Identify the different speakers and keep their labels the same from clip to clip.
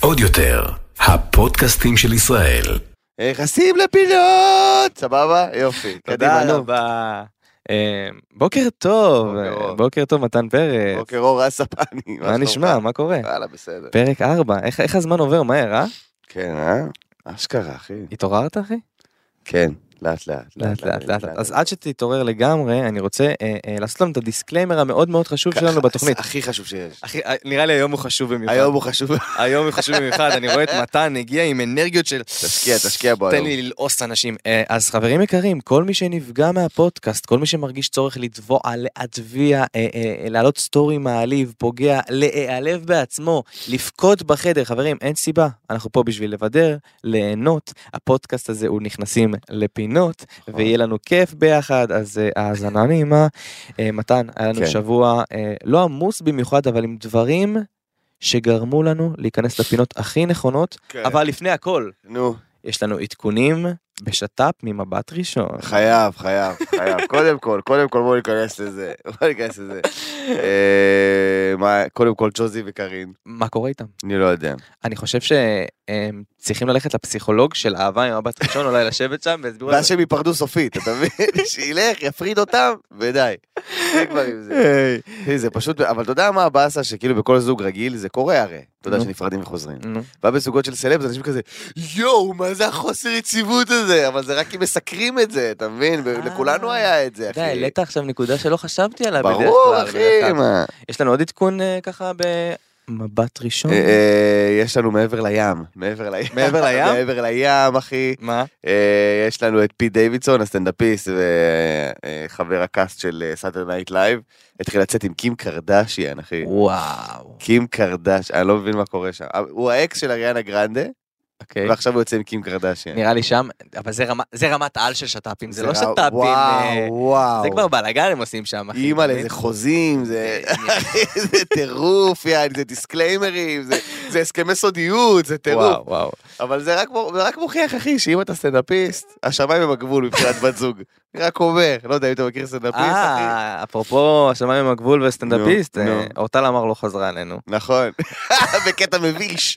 Speaker 1: עוד יותר, הפודקאסטים של ישראל.
Speaker 2: נכנסים לפינות! סבבה? יופי.
Speaker 3: תודה
Speaker 2: קדימה, נו.
Speaker 3: רבה. אה, בוקר טוב,
Speaker 2: בוקר אור.
Speaker 3: בוקר טוב מתן פרץ.
Speaker 2: בוקר אור אסה פאני.
Speaker 3: מה אה, נשמע? מה קורה?
Speaker 2: וואלה, בסדר.
Speaker 3: פרק 4, איך הזמן עובר מהר, אה?
Speaker 2: כן, אה? אשכרה, אחי.
Speaker 3: התעוררת אחי?
Speaker 2: כן, לאט לאט.
Speaker 3: לאט לאט לאט. לאט. אז עד שתתעורר לגמרי, אני רוצה אה, אה, לעשות לנו את הדיסקליימר המאוד מאוד חשוב שלנו בתוכנית.
Speaker 2: הכי חשוב שיש.
Speaker 3: אה, אחי, אה, נראה לי היום הוא חשוב במיוחד.
Speaker 2: היום הוא חשוב.
Speaker 3: היום הוא חשוב במיוחד, אני רואה את מתן הגיע עם אנרגיות של...
Speaker 2: תשקיע, תשקיע בו
Speaker 3: תן
Speaker 2: היום.
Speaker 3: לי ללעוס אנשים. אה, אז חברים יקרים, כל מי שנפגע מהפודקאסט, כל מי שמרגיש צורך לתבוע, להטביע, אה, אה, להעלות סטורי מעליב, פוגע, להיעלב בעצמו, לבכות בחדר, חברים, אין סיבה, אנחנו פה בשביל לבדר, ליהנות, הפודקאסט הזה הוא נכנסים לפינות, ויהיה לנו כיף ביחד, אז אה, האזנה נעימה. אה, מתן, היה לנו
Speaker 2: כן.
Speaker 3: שבוע אה, לא עמוס במיוחד, אבל עם דברים שגרמו לנו להיכנס לפינות הכי נכונות,
Speaker 2: כן.
Speaker 3: אבל לפני הכל,
Speaker 2: נו,
Speaker 3: יש לנו עדכונים בשת"פ ממבט ראשון.
Speaker 2: חייב, חייב, חייב. קודם כל, קודם כל בואו ניכנס לזה. בואו ניכנס לזה. אה, מה, קודם כל ג'וזי וקארין.
Speaker 3: מה קורה איתם?
Speaker 2: אני לא יודע.
Speaker 3: אני חושב שהם צריכים ללכת לפסיכולוג של אהבה ממבט ראשון, אולי לשבת שם ויסבירו
Speaker 2: ואז שהם ייפרדו סופית, אתה מבין? שילך, יפריד אותם, ודי. זה כבר עם זה. תראי, זה פשוט, אבל אתה יודע מה הבאסה שכאילו בכל זוג רגיל זה קורה הרי. אתה יודע
Speaker 3: נו.
Speaker 2: שנפרדים וחוזרים.
Speaker 3: נו,
Speaker 2: ובזוגות של סלבס אנשים כזה, יואו, מה זה החוסר יציבות הזה? אבל זה רק כי מסקרים את זה, אתה מבין?
Speaker 3: אה.
Speaker 2: לכולנו היה את זה,
Speaker 3: אתה
Speaker 2: אחי.
Speaker 3: יודע, העלית עכשיו נקודה שלא חשבתי עליה בדרך כלל.
Speaker 2: ברור, אחי,
Speaker 3: בדרך כלל.
Speaker 2: מה.
Speaker 3: יש לנו עוד עדכון אה, ככה במבט ראשון.
Speaker 2: אה, אה, יש לנו מעבר לים, מעבר לים.
Speaker 3: מעבר לים?
Speaker 2: מעבר לים, אחי.
Speaker 3: מה?
Speaker 2: אה, יש לנו את פיט דיווידסון, הסטנדאפיסט וחבר הקאסט של סאטר נייט לייב, התחיל לצאת עם קים קרדשיאן, אחי.
Speaker 3: וואו.
Speaker 2: קים קרדש, אני לא מבין מה קורה שם. הוא האקס של אריאנה גרנדה,
Speaker 3: אוקיי.
Speaker 2: ועכשיו הוא יוצא עם קים קרדשיאן.
Speaker 3: נראה לי שם, אבל זה רמה- זה רמת על של שת"פים, כן. זה לא שת"פים. אה,
Speaker 2: וואו, וואו.
Speaker 3: זה כבר בלאגן הם עושים שם, אחי.
Speaker 2: אימא
Speaker 3: באמת.
Speaker 2: לאיזה חוזים, זה זה טירוף, יעני, זה דיסקליימרים, זה- זה הסכמי סודיות, זה טירוף.
Speaker 3: וואו, וואו.
Speaker 2: אבל זה רק מו- זה רק מוכיח, אחי, שאם אתה סטנדאפיסט, השמיים הם הגבול מבחינת בת זוג. אני רק אומר, לא יודע אם אתה מכיר סטנדאפיסט, אחי.
Speaker 3: אה, אפרופו השמיים עם הגבול וסטנדאפיסט,
Speaker 2: נו,
Speaker 3: אה,
Speaker 2: נו.
Speaker 3: אורטל אמר לא חזרה אלינו.
Speaker 2: נכון, בקטע מביש.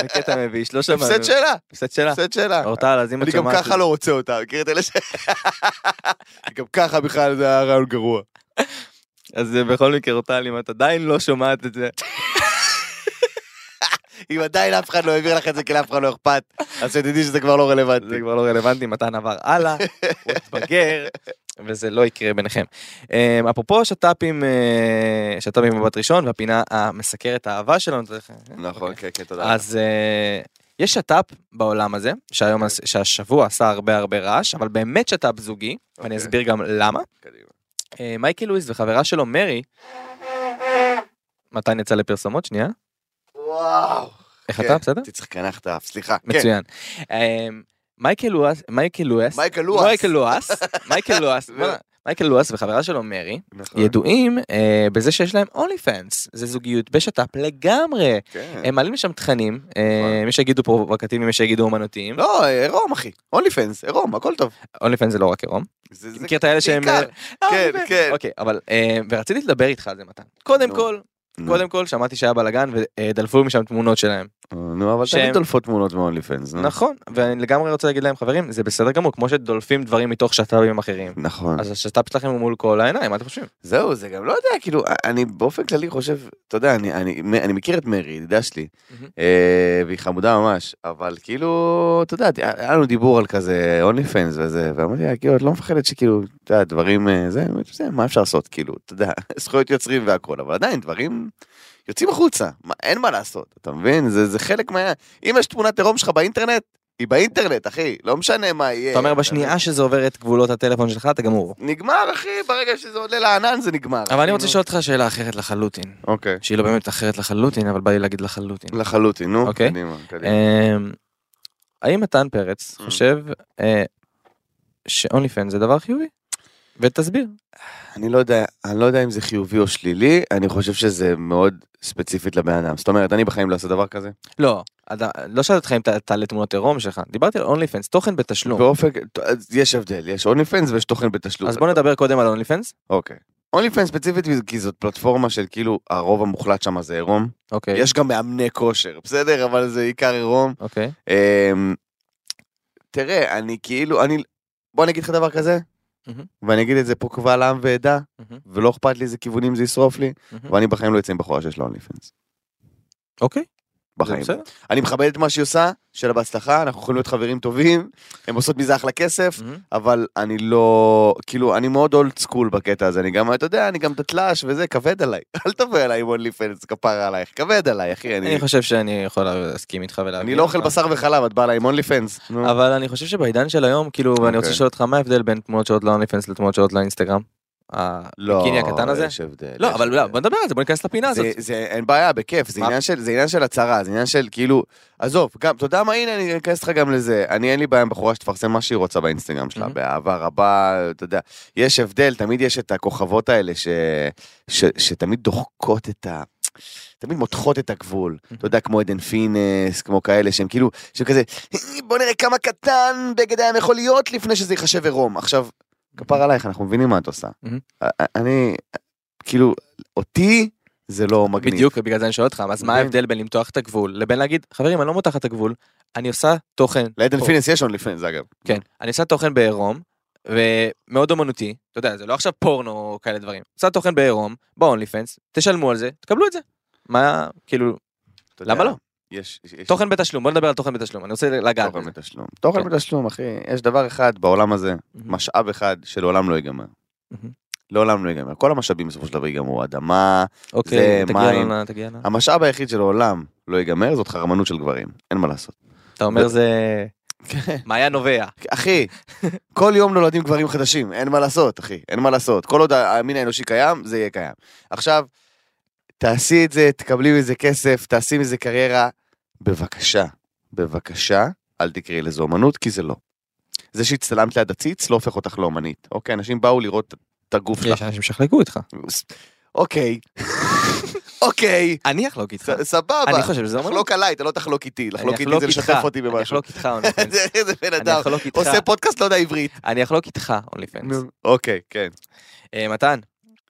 Speaker 3: זה קטע מביש, לא שמענו.
Speaker 2: הפסד שלה,
Speaker 3: הפסד שלה.
Speaker 2: הפסד שלה.
Speaker 3: אורטל, אז אם את
Speaker 2: אני גם
Speaker 3: שומעת...
Speaker 2: ככה לא רוצה אותה, מכיר את אלה ש... אני גם ככה בכלל זה היה רעיון גרוע.
Speaker 3: אז אה, בכל מקרה, אורטל, אם את עדיין לא שומעת את זה,
Speaker 2: אם עדיין אף אחד לא העביר לך את זה כי לאף אחד לא אכפת, אז שתדעי שזה כבר לא
Speaker 3: זה
Speaker 2: רלוונטי.
Speaker 3: כבר לא רלוונטי, מתן עבר הלאה, הוא התבגר, וזה לא יקרה ביניכם. אה, אפרופו שת"פים, אה, שת"פים במבט ראשון, והפינה המסקרת האהבה שלנו, אתה יודע,
Speaker 2: נכון, כן, כן, תודה.
Speaker 3: אז אה, יש שת"פ בעולם הזה, שהיום,
Speaker 2: אוקיי.
Speaker 3: שהשבוע עשה הרבה הרבה רעש, אבל באמת שת"פ זוגי, ואני
Speaker 2: אוקיי.
Speaker 3: אסביר גם למה.
Speaker 2: קדימה.
Speaker 3: אה, מייקל לואיס וחברה שלו מרי, מתן יצא לפרסומות שנייה?
Speaker 2: וואו.
Speaker 3: איך
Speaker 2: כן,
Speaker 3: אתה? בסדר?
Speaker 2: תצטרך לקנח את האף, סליחה. כן.
Speaker 3: מצוין. אה, מייקל לואס, מייקל לואס,
Speaker 2: מייקל לואס.
Speaker 3: מייקל לואס, מייקל לואס,
Speaker 2: לא.
Speaker 3: מה- מייקל לואס וחברה שלו מרי,
Speaker 2: נכון.
Speaker 3: ידועים אה, בזה שיש להם אולי פאנס, זה זוגיות בשת"פ לגמרי.
Speaker 2: כן.
Speaker 3: הם מעלים לשם תכנים, אה,
Speaker 2: נכון.
Speaker 3: מי שיגידו פרובוקטיביים, מי שיגידו אומנותיים.
Speaker 2: לא, עירום אחי, אונלי פנס, עירום, הכל טוב.
Speaker 3: אונלי פאנס זה לא רק עירום.
Speaker 2: זה- זה
Speaker 3: מכיר את האלה שהם...
Speaker 2: בעיקר.
Speaker 3: אה,
Speaker 2: כן,
Speaker 3: באמת?
Speaker 2: כן.
Speaker 3: אוקיי, אבל... אה, ורציתי לדבר איתך על זה, מתן. קודם
Speaker 2: נו.
Speaker 3: כל,
Speaker 2: נו.
Speaker 3: אה, קודם כל שמעתי שהיה בלאגן ודלפו משם תמונות שלהם.
Speaker 2: נו, אבל
Speaker 3: שהם-
Speaker 2: תמיד דולפות תמונות מאונלי פנס. נו.
Speaker 3: נכון, ואני לגמרי רוצה להגיד להם, חברים, זה בסדר גמור, כמו שדולפים דברים מתוך שת"פים אחרים.
Speaker 2: נכון.
Speaker 3: אז השת"פ שלכם הוא מול כל העיניים, מה אתם חושבים?
Speaker 2: זהו, זה גם לא יודע, כאילו, אני באופן כללי חושב, אתה יודע, אני, אני, אני מכיר את מרי, ידידה שלי,
Speaker 3: מהמם.
Speaker 2: אה, והיא חמודה ממש, אבל כאילו, אתה יודע, היה לנו דיבור על כזה אונלי פנס וזה, ואמרתי לה, כאילו, את לא מפחדת שכאילו, אתה יודע, דברים, אה, זה, היא אומרת, "זה, מה אפשר לעשות, כאילו, אתה יודע, זכויות יוצרים והכל, אבל עדיין, דברים יוצאים החוצה, מה, אין מה לעשות, אתה מבין? זה, זה חלק מה... אם יש תמונת עירום שלך באינטרנט, היא באינטרנט, אחי, לא משנה מה יהיה.
Speaker 3: אתה אומר, בשנייה שזה עובר את גבולות הטלפון שלך, אתה גמור.
Speaker 2: נגמר, אחי, ברגע שזה עולה לענן זה נגמר.
Speaker 3: אבל אני רוצה
Speaker 2: כאילו.
Speaker 3: לשאול אותך שאלה אחרת לחלוטין.
Speaker 2: אוקיי.
Speaker 3: שהיא לא באמת אחרת לחלוטין, אבל בא לי להגיד לחלוטין.
Speaker 2: לחלוטין, נו,
Speaker 3: אוקיי.
Speaker 2: קדימה, קדימה.
Speaker 3: אמ, האם מתן פרץ
Speaker 2: Mm.
Speaker 3: חושב אה, שאונלי פן זה דבר חיובי? ותסביר.
Speaker 2: אני לא יודע, אני לא יודע אם זה חיובי או שלילי, אני חושב שזה מאוד ספציפית לבן אדם. זאת אומרת, אני בחיים לא אעשה דבר כזה.
Speaker 3: לא, אתה- לא שאלתי אותך אם אתה- תעלה תמונות עירום שלך, דיברתי על אונלי פנס, תוכן בתשלום.
Speaker 2: באופן, אז יש הבדל, יש אונלי פנס ויש תוכן בתשלום.
Speaker 3: אז בוא נדבר קודם על אונלי פנס.
Speaker 2: אוקיי. אונלי פן ספציפית, כי זאת פלטפורמה של כאילו, הרוב המוחלט שם זה עירום.
Speaker 3: אוקיי.
Speaker 2: יש גם מאמני כושר, בסדר? אבל זה עיקר עירום.
Speaker 3: אוקיי.
Speaker 2: אמ, תראה, אני כאילו, אני... בוא אני אגיד לך דבר כזה,
Speaker 3: מהמם.
Speaker 2: ואני אגיד את זה פה קבל עם ועדה,
Speaker 3: מהמם.
Speaker 2: ולא אכפת לי איזה כיוונים זה ישרוף לי,
Speaker 3: מהמם.
Speaker 2: ואני בחיים לא אצא עם בחורה שיש לה אונלי פנס.
Speaker 3: אוקיי. זה
Speaker 2: בחיים.
Speaker 3: בסדר.
Speaker 2: אני מכבד את מה שהיא עושה, שיהיה לה בהצלחה, אנחנו יכולים להיות חברים טובים, הן עושות מזה אחלה כסף,
Speaker 3: מהמם.
Speaker 2: אבל אני לא... כאילו, אני מאוד אולד סקול בקטע הזה, אני גם, אתה יודע, אני גם דתל"ש וזה, כבד עליי. אל תבוא אליי עם אונלי פנס, כפרה עלייך, כבד עליי, אחי, אני...
Speaker 3: אני חושב שאני יכול להסכים איתך ולהבין.
Speaker 2: אני לא אוכל
Speaker 3: אותך.
Speaker 2: בשר וחלב, את באה אליי עם אונלי פנס. נו.
Speaker 3: אבל אני חושב שבעידן של היום, כאילו, ואני רוצה
Speaker 2: אוקיי.
Speaker 3: לשאול אותך, מה ההבדל בין תמונות שעולות לאוניפנס לתמונות שעולות לאינסטגרם?
Speaker 2: לא,
Speaker 3: הביקיני הקטן הזה?
Speaker 2: יש הבדל.
Speaker 3: לא,
Speaker 2: יש
Speaker 3: אבל
Speaker 2: הבדל.
Speaker 3: לא, בוא נדבר על זה, בוא ניכנס לפינה הזאת.
Speaker 2: זה, זה, אין בעיה, בכיף, זה
Speaker 3: מה?
Speaker 2: עניין, של, זה עניין של הצהרה, זה עניין של כאילו, עזוב, גם, אתה יודע מה, הנה, אני אכנס לך גם לזה. אני, אין לי בעיה עם בחורה שתפרסם מה שהיא רוצה באינסטגרם שלה,
Speaker 3: מהמם.
Speaker 2: באהבה רבה, אתה יודע. יש הבדל, תמיד יש את הכוכבות האלה ש, ש, שתמיד דוחקות את ה... תמיד מותחות את הגבול,
Speaker 3: Mm-hmm.
Speaker 2: אתה יודע, כמו עדן פינס, כמו כאלה שהם כאילו, שהם כזה, בוא נראה כמה קטן בגד הים יכול להיות לפני שזה ייחשב עירום. עכשיו, כפר עלייך, אנחנו מבינים מה את עושה. אה,
Speaker 3: מהמם.
Speaker 2: אני, כאילו, אותי זה לא מגניב.
Speaker 3: בדיוק, בגלל זה אני שואל אותך, אז מה
Speaker 2: מגניב.
Speaker 3: ההבדל בין למתוח את הגבול לבין להגיד, חברים, אני לא מותחת את הגבול, אני עושה תוכן.
Speaker 2: לעדן
Speaker 3: פה."
Speaker 2: פינס יש עוד לפני זה אגב.
Speaker 3: כן, אני עושה תוכן בעירום, ומאוד אומנותי, אתה יודע, זה לא עכשיו פורנו או כאלה דברים. עושה תוכן בעירום, ב-only fans, תשלמו על זה, תקבלו את זה. מה, כאילו,
Speaker 2: אתה יודע,
Speaker 3: למה לא?
Speaker 2: יש יש- לא,
Speaker 3: תוכן בתשלום, בוא נדבר על תוכן בתשלום, אני רוצה לגעת
Speaker 2: תוכן
Speaker 3: בזה.
Speaker 2: בתשלום. תוכן
Speaker 3: כן.
Speaker 2: בתשלום, אחי, יש דבר אחד בעולם הזה,
Speaker 3: מהמם.
Speaker 2: משאב אחד שלעולם לא ייגמר.
Speaker 3: מהמם.
Speaker 2: לעולם לא ייגמר. כל המשאבים בסופו של דבר ייגמרו, אדמה.
Speaker 3: אוקיי,
Speaker 2: זה
Speaker 3: תגיע
Speaker 2: מים.
Speaker 3: לנו, תגיע לנו.
Speaker 2: המשאב היחיד שלעולם לא ייגמר זאת חרמנות של גברים, אין מה לעשות.
Speaker 3: אתה אומר זה מעיין נובע.
Speaker 2: אחי, כל יום נולדים גברים חדשים, אין מה לעשות, אחי, אין מה לעשות. כל עוד המין האנושי קיים, זה יהיה קיים. עכשיו, תעשי את זה, תקבלי מזה כסף, תעשי מזה קריירה. בבקשה, בבקשה, אל תקראי לזה אומנות, כי זה לא. זה שהצטלמת ליד עציץ לא הופך אותך לאומנית. אוקיי, אנשים באו לראות את הגוף
Speaker 3: יש
Speaker 2: שלך.
Speaker 3: אנשים שחלקו איתך.
Speaker 2: אוקיי, אוקיי,
Speaker 3: אני אחלוק איתך.
Speaker 2: ס- סבבה.
Speaker 3: אני חושב שזה אומנות.
Speaker 2: תחלוק עליי, אתה לא תחלוק איתי,
Speaker 3: אני
Speaker 2: לחלוק איתי זה
Speaker 3: איתך.
Speaker 2: לשתף אותי
Speaker 3: אני
Speaker 2: במשהו.
Speaker 3: אחלוק איתך אונלי פנס.
Speaker 2: זה- איזה בן
Speaker 3: אני
Speaker 2: אדם,
Speaker 3: אחלוק איתך.
Speaker 2: עושה פודקאסט לא יודע עברית.
Speaker 3: אני אחלוק איתך אונלי פנס.
Speaker 2: אוקיי, כן.
Speaker 3: אה, מתן,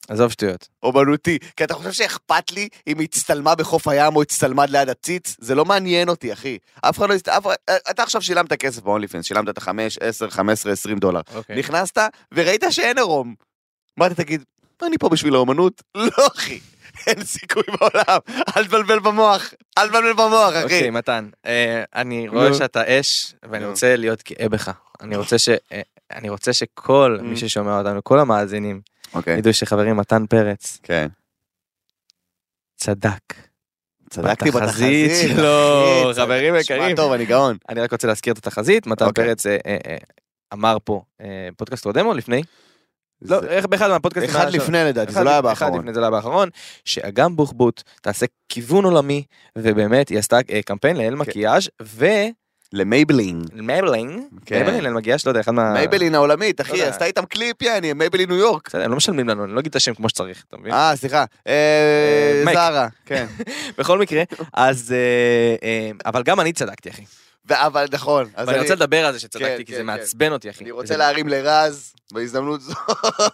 Speaker 3: עזוב שטויות.
Speaker 2: אומנותי. כי אתה חושב שאכפת לי אם היא הצטלמה בחוף הים או הצטלמה ליד הציץ? זה לא מעניין אותי, אחי. אף אחד לא... הסת- אף... אתה עכשיו שילמת כסף ב-only fans, שילמת את ה-5, 10, 15, 20 דולר.
Speaker 3: כן. אוקיי.
Speaker 2: נכנסת וראית שאין עירום. מה אתה תגיד? אני פה בשביל האומנות? לא, אחי. אין סיכוי בעולם. אל תבלבל במוח. אל תבלבל במוח, אחי.
Speaker 3: אוקיי, מתן, אה, אני רואה
Speaker 2: נו.
Speaker 3: שאתה אש, ואני
Speaker 2: נו.
Speaker 3: רוצה להיות גאה בך. אני רוצה ש... אה, אני רוצה שכל מי
Speaker 2: Mm.
Speaker 3: ששומע אותנו, כל המאזינים,
Speaker 2: אוקיי.
Speaker 3: ידעו שחברי מתן פרץ
Speaker 2: כן.
Speaker 3: צדק.
Speaker 2: צדקתי
Speaker 3: בתחזית
Speaker 2: בתחזית.
Speaker 3: שלו,
Speaker 2: אחי,
Speaker 3: חברים יקרים.
Speaker 2: שמע טוב, אני גאון.
Speaker 3: אני רק רוצה להזכיר את התחזית, מתן
Speaker 2: אוקיי.
Speaker 3: פרץ אה, אה, אה, אמר פה, אה, פודקאסט קודם או לפני? לא,
Speaker 2: זה-
Speaker 3: איך באחד מהפודקאסטים...
Speaker 2: אחד
Speaker 3: היה שם-
Speaker 2: לפני לדעתי, זה
Speaker 3: אחד-
Speaker 2: לא היה
Speaker 3: אחד
Speaker 2: באחרון.
Speaker 3: לפני זה לא היה באחרון, שאגם בוחבוט תעשה כיוון עולמי, ובאמת היא עשתה אה, קמפיין
Speaker 2: כן.
Speaker 3: לאל מקיאז'
Speaker 2: למייבלין.
Speaker 3: ומייבלין,
Speaker 2: כן.
Speaker 3: מייבלין אל מקיאז', לא יודע, אחד מה...
Speaker 2: מייבלין העולמית,
Speaker 3: לא
Speaker 2: אחי,
Speaker 3: יודע.
Speaker 2: עשתה איתם קליפ, יעני, מייבלין ניו יורק.
Speaker 3: בסדר, הם לא משלמים לנו, אני לא אגיד את השם כמו שצריך, אתה מבין?
Speaker 2: אה, סליחה, אה,
Speaker 3: אה, מק.
Speaker 2: זרה, כן.
Speaker 3: בכל מקרה, אז... אה, אה, אבל גם אני צדקתי, אחי.
Speaker 2: ו- אבל נכון, אז
Speaker 3: ואני
Speaker 2: אני-
Speaker 3: רוצה לדבר על זה שצדקתי,
Speaker 2: כן,
Speaker 3: כי זה
Speaker 2: כן,
Speaker 3: מעצבן אותי, אחי.
Speaker 2: אני
Speaker 3: זה-
Speaker 2: רוצה להרים לרז, בהזדמנות זו,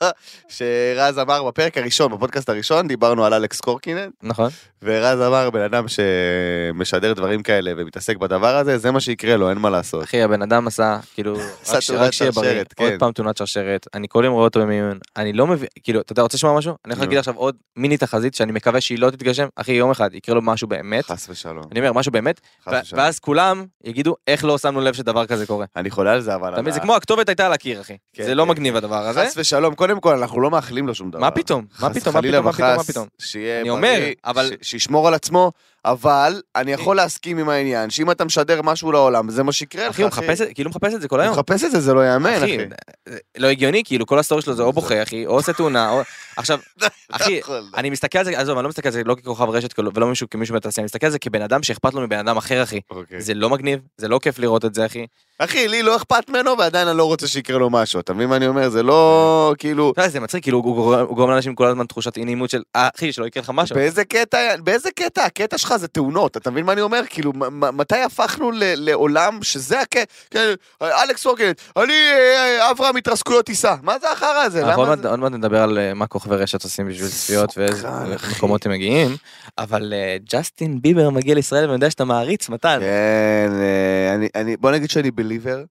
Speaker 2: שרז אמר בפרק הראשון, בפודקאסט הראשון, דיברנו על אלכס קורקינט,
Speaker 3: נכון.
Speaker 2: ורז אמר, בן אדם שמשדר דברים כאלה ומתעסק בדבר הזה, זה מה שיקרה לו, אין מה לעשות.
Speaker 3: אחי, הבן אדם עשה, כאילו,
Speaker 2: עשה
Speaker 3: רק ש-
Speaker 2: תאונת
Speaker 3: רק שיהיה בריא,
Speaker 2: שרשרת,
Speaker 3: עוד
Speaker 2: כן.
Speaker 3: פעם תאונת שרשרת, אני כל יום רואה אותו במיון, אני לא מבין, כאילו, אתה יודע, רוצה לשמוע משהו? אני הולך
Speaker 2: נו.
Speaker 3: להגיד עכשיו עוד מיני תחזית שאני מקווה שהיא לא תתגשם, אחי, יום אחד יקרה לו משהו באמת,
Speaker 2: חס ושלום,
Speaker 3: אני אומר, משהו באמת,
Speaker 2: חס
Speaker 3: ו-
Speaker 2: ושלום.
Speaker 3: ואז כולם יגידו, איך לא שמנו לב שדבר כזה קורה.
Speaker 2: אני חולה על זה, אבל...
Speaker 3: אתה מבין, זה
Speaker 2: אבל-
Speaker 3: כמו הכתובת הייתה על הקיר, אחי.
Speaker 2: כן,
Speaker 3: זה לא
Speaker 2: כן.
Speaker 3: מגניב הדבר הזה.
Speaker 2: חס ושלום, קודם כל, אנחנו לא מאחלים לו שום דבר.
Speaker 3: מה פתאום? מה
Speaker 2: חס
Speaker 3: פתאום? מה
Speaker 2: וחלילה
Speaker 3: פתאום? מה פתאום? מה
Speaker 2: וחס,
Speaker 3: פתאום?
Speaker 2: שיהיה
Speaker 3: אני
Speaker 2: בריא,
Speaker 3: אומר, אבל- אה.
Speaker 2: ש- שישמור על עצמו, אבל אני יכול להסכים עם העניין, שאם אתה משדר משהו לעולם, זה מה שיקרה לך,
Speaker 3: אחי, הוא מחפש את זה, כאילו מחפש את זה כל
Speaker 2: כן, הוא
Speaker 3: היום.
Speaker 2: מחפש את זה, זה לא יאמן, אחי.
Speaker 3: זה לא הגיוני, כאילו, כל הסטורי שלו זה או בוכה, אחי, או עושה תאונה, או... עכשיו,
Speaker 2: לא
Speaker 3: אחי,
Speaker 2: יכול.
Speaker 3: אני מסתכל על זה, עזוב, אני לא מסתכל על זה לא ככוכב רשת כאילו, ולא מישהו כמישהו בתעשייה, אני מסתכל על זה כבן אדם שאכפת לו מבן אדם אחר, אחי.
Speaker 2: אוקיי.
Speaker 3: זה לא מגניב, זה לא כיף לראות את זה, אחי.
Speaker 2: אחי, לי לא אכפת ממנו, ועדיין אני לא רוצה שיקרה לו משהו, אתה מבין מה אני אומר? זה לא, כאילו...
Speaker 3: אה. אתה יודע, זה מצחיק, כאילו, הוא גורם- הוא גורם לאנשים כל הזמן תחושת אי נעימות של, "אה, אחי, שלא יקרה לך משהו.
Speaker 2: באיזה קטע, באיזה קטע? הקטע שלך שלך זה תאונות, אתה מבין מה אני אומר? כאילו, מ- מ- מתי הפכנו ל- לעולם שזה הכ... כן, אלכס וורקנט, אני אה, אה, אברהם התרסקויות טיסה. מה זה החרא הזה?
Speaker 3: אנחנו עוד
Speaker 2: למה
Speaker 3: מעט-
Speaker 2: זה...
Speaker 3: עוד מעט נדבר על אה, מה כוכבי רשת עושים בשביל צפיות ואיזה
Speaker 2: סקרן, אחי.
Speaker 3: מקומות הם מגיעים, אבל אה, ג'סטין ביבר מגיע לישראל ואני יודע שאתה מעריץ, מתן.
Speaker 2: כן, אה, אני, אני, בוא נגיד שאני בליבר.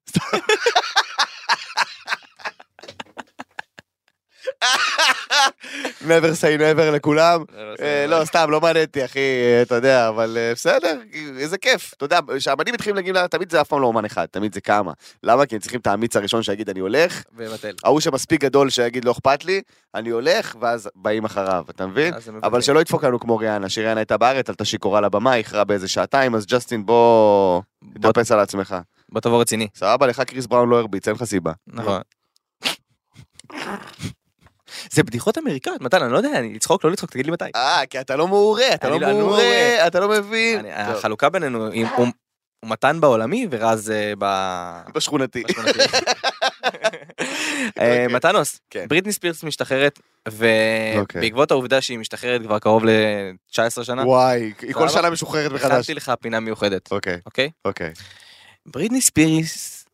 Speaker 2: never say never לכולם. אה, לא, סתם, לא מעניין אותי, אחי, אה, אתה יודע, אבל אה, בסדר, איזה כיף. אתה יודע, כשאמנים מתחילים לגמלה, תמיד זה אף פעם לא אומן אחד, תמיד זה כמה. למה? כי הם צריכים את האמיץ הראשון שיגיד, אני הולך,
Speaker 3: ומטל.
Speaker 2: ההוא שמספיק גדול שיגיד, לא אכפת לי, אני הולך, ואז באים אחריו, אתה מבין?
Speaker 3: אז הם
Speaker 2: אבל
Speaker 3: מבטלים.
Speaker 2: שלא ידפוק לנו כמו ריאנה, שריאנה הייתה בארץ, עלתה שיכורה לבמה, איחרה באיזה שעתיים, אז ג'סטין, בוא...
Speaker 3: בוא-
Speaker 2: תתאפס על עצמך.
Speaker 3: בוא תבוא רציני.
Speaker 2: סבבה, לך קריס בראון לא הרביץ, אין לך סיבה.
Speaker 3: נכון. זה בדיחות אמריקאיות, מתן, אני לא יודע, אני לצחוק, לא לצחוק, תגיד לי מתי.
Speaker 2: אה, כי אתה לא מעורה, אתה
Speaker 3: אני
Speaker 2: לא
Speaker 3: לא- אני לא
Speaker 2: מעורה,
Speaker 3: מעורה.
Speaker 2: אתה לא מבין.
Speaker 3: אני-
Speaker 2: טוב,
Speaker 3: החלוקה בינינו היא- הוא הוא מתן בעולמי ורז אה, ב...
Speaker 2: בשכונתי.
Speaker 3: בשכונתי. אה,
Speaker 2: אוקיי.
Speaker 3: מתנוס,
Speaker 2: כן.
Speaker 3: בריטני ספירס משתחררת,
Speaker 2: אוקיי.
Speaker 3: ובעקבות העובדה שהיא משתחררת כבר קרוב ל-19 שנה,
Speaker 2: וואי, היא כל
Speaker 3: סבבה?
Speaker 2: שנה משוחררת מחדש.
Speaker 3: הכנתי לך פינה מיוחדת,
Speaker 2: אוקיי,
Speaker 3: אוקיי?
Speaker 2: אוקיי.
Speaker 3: בריטני ספירס,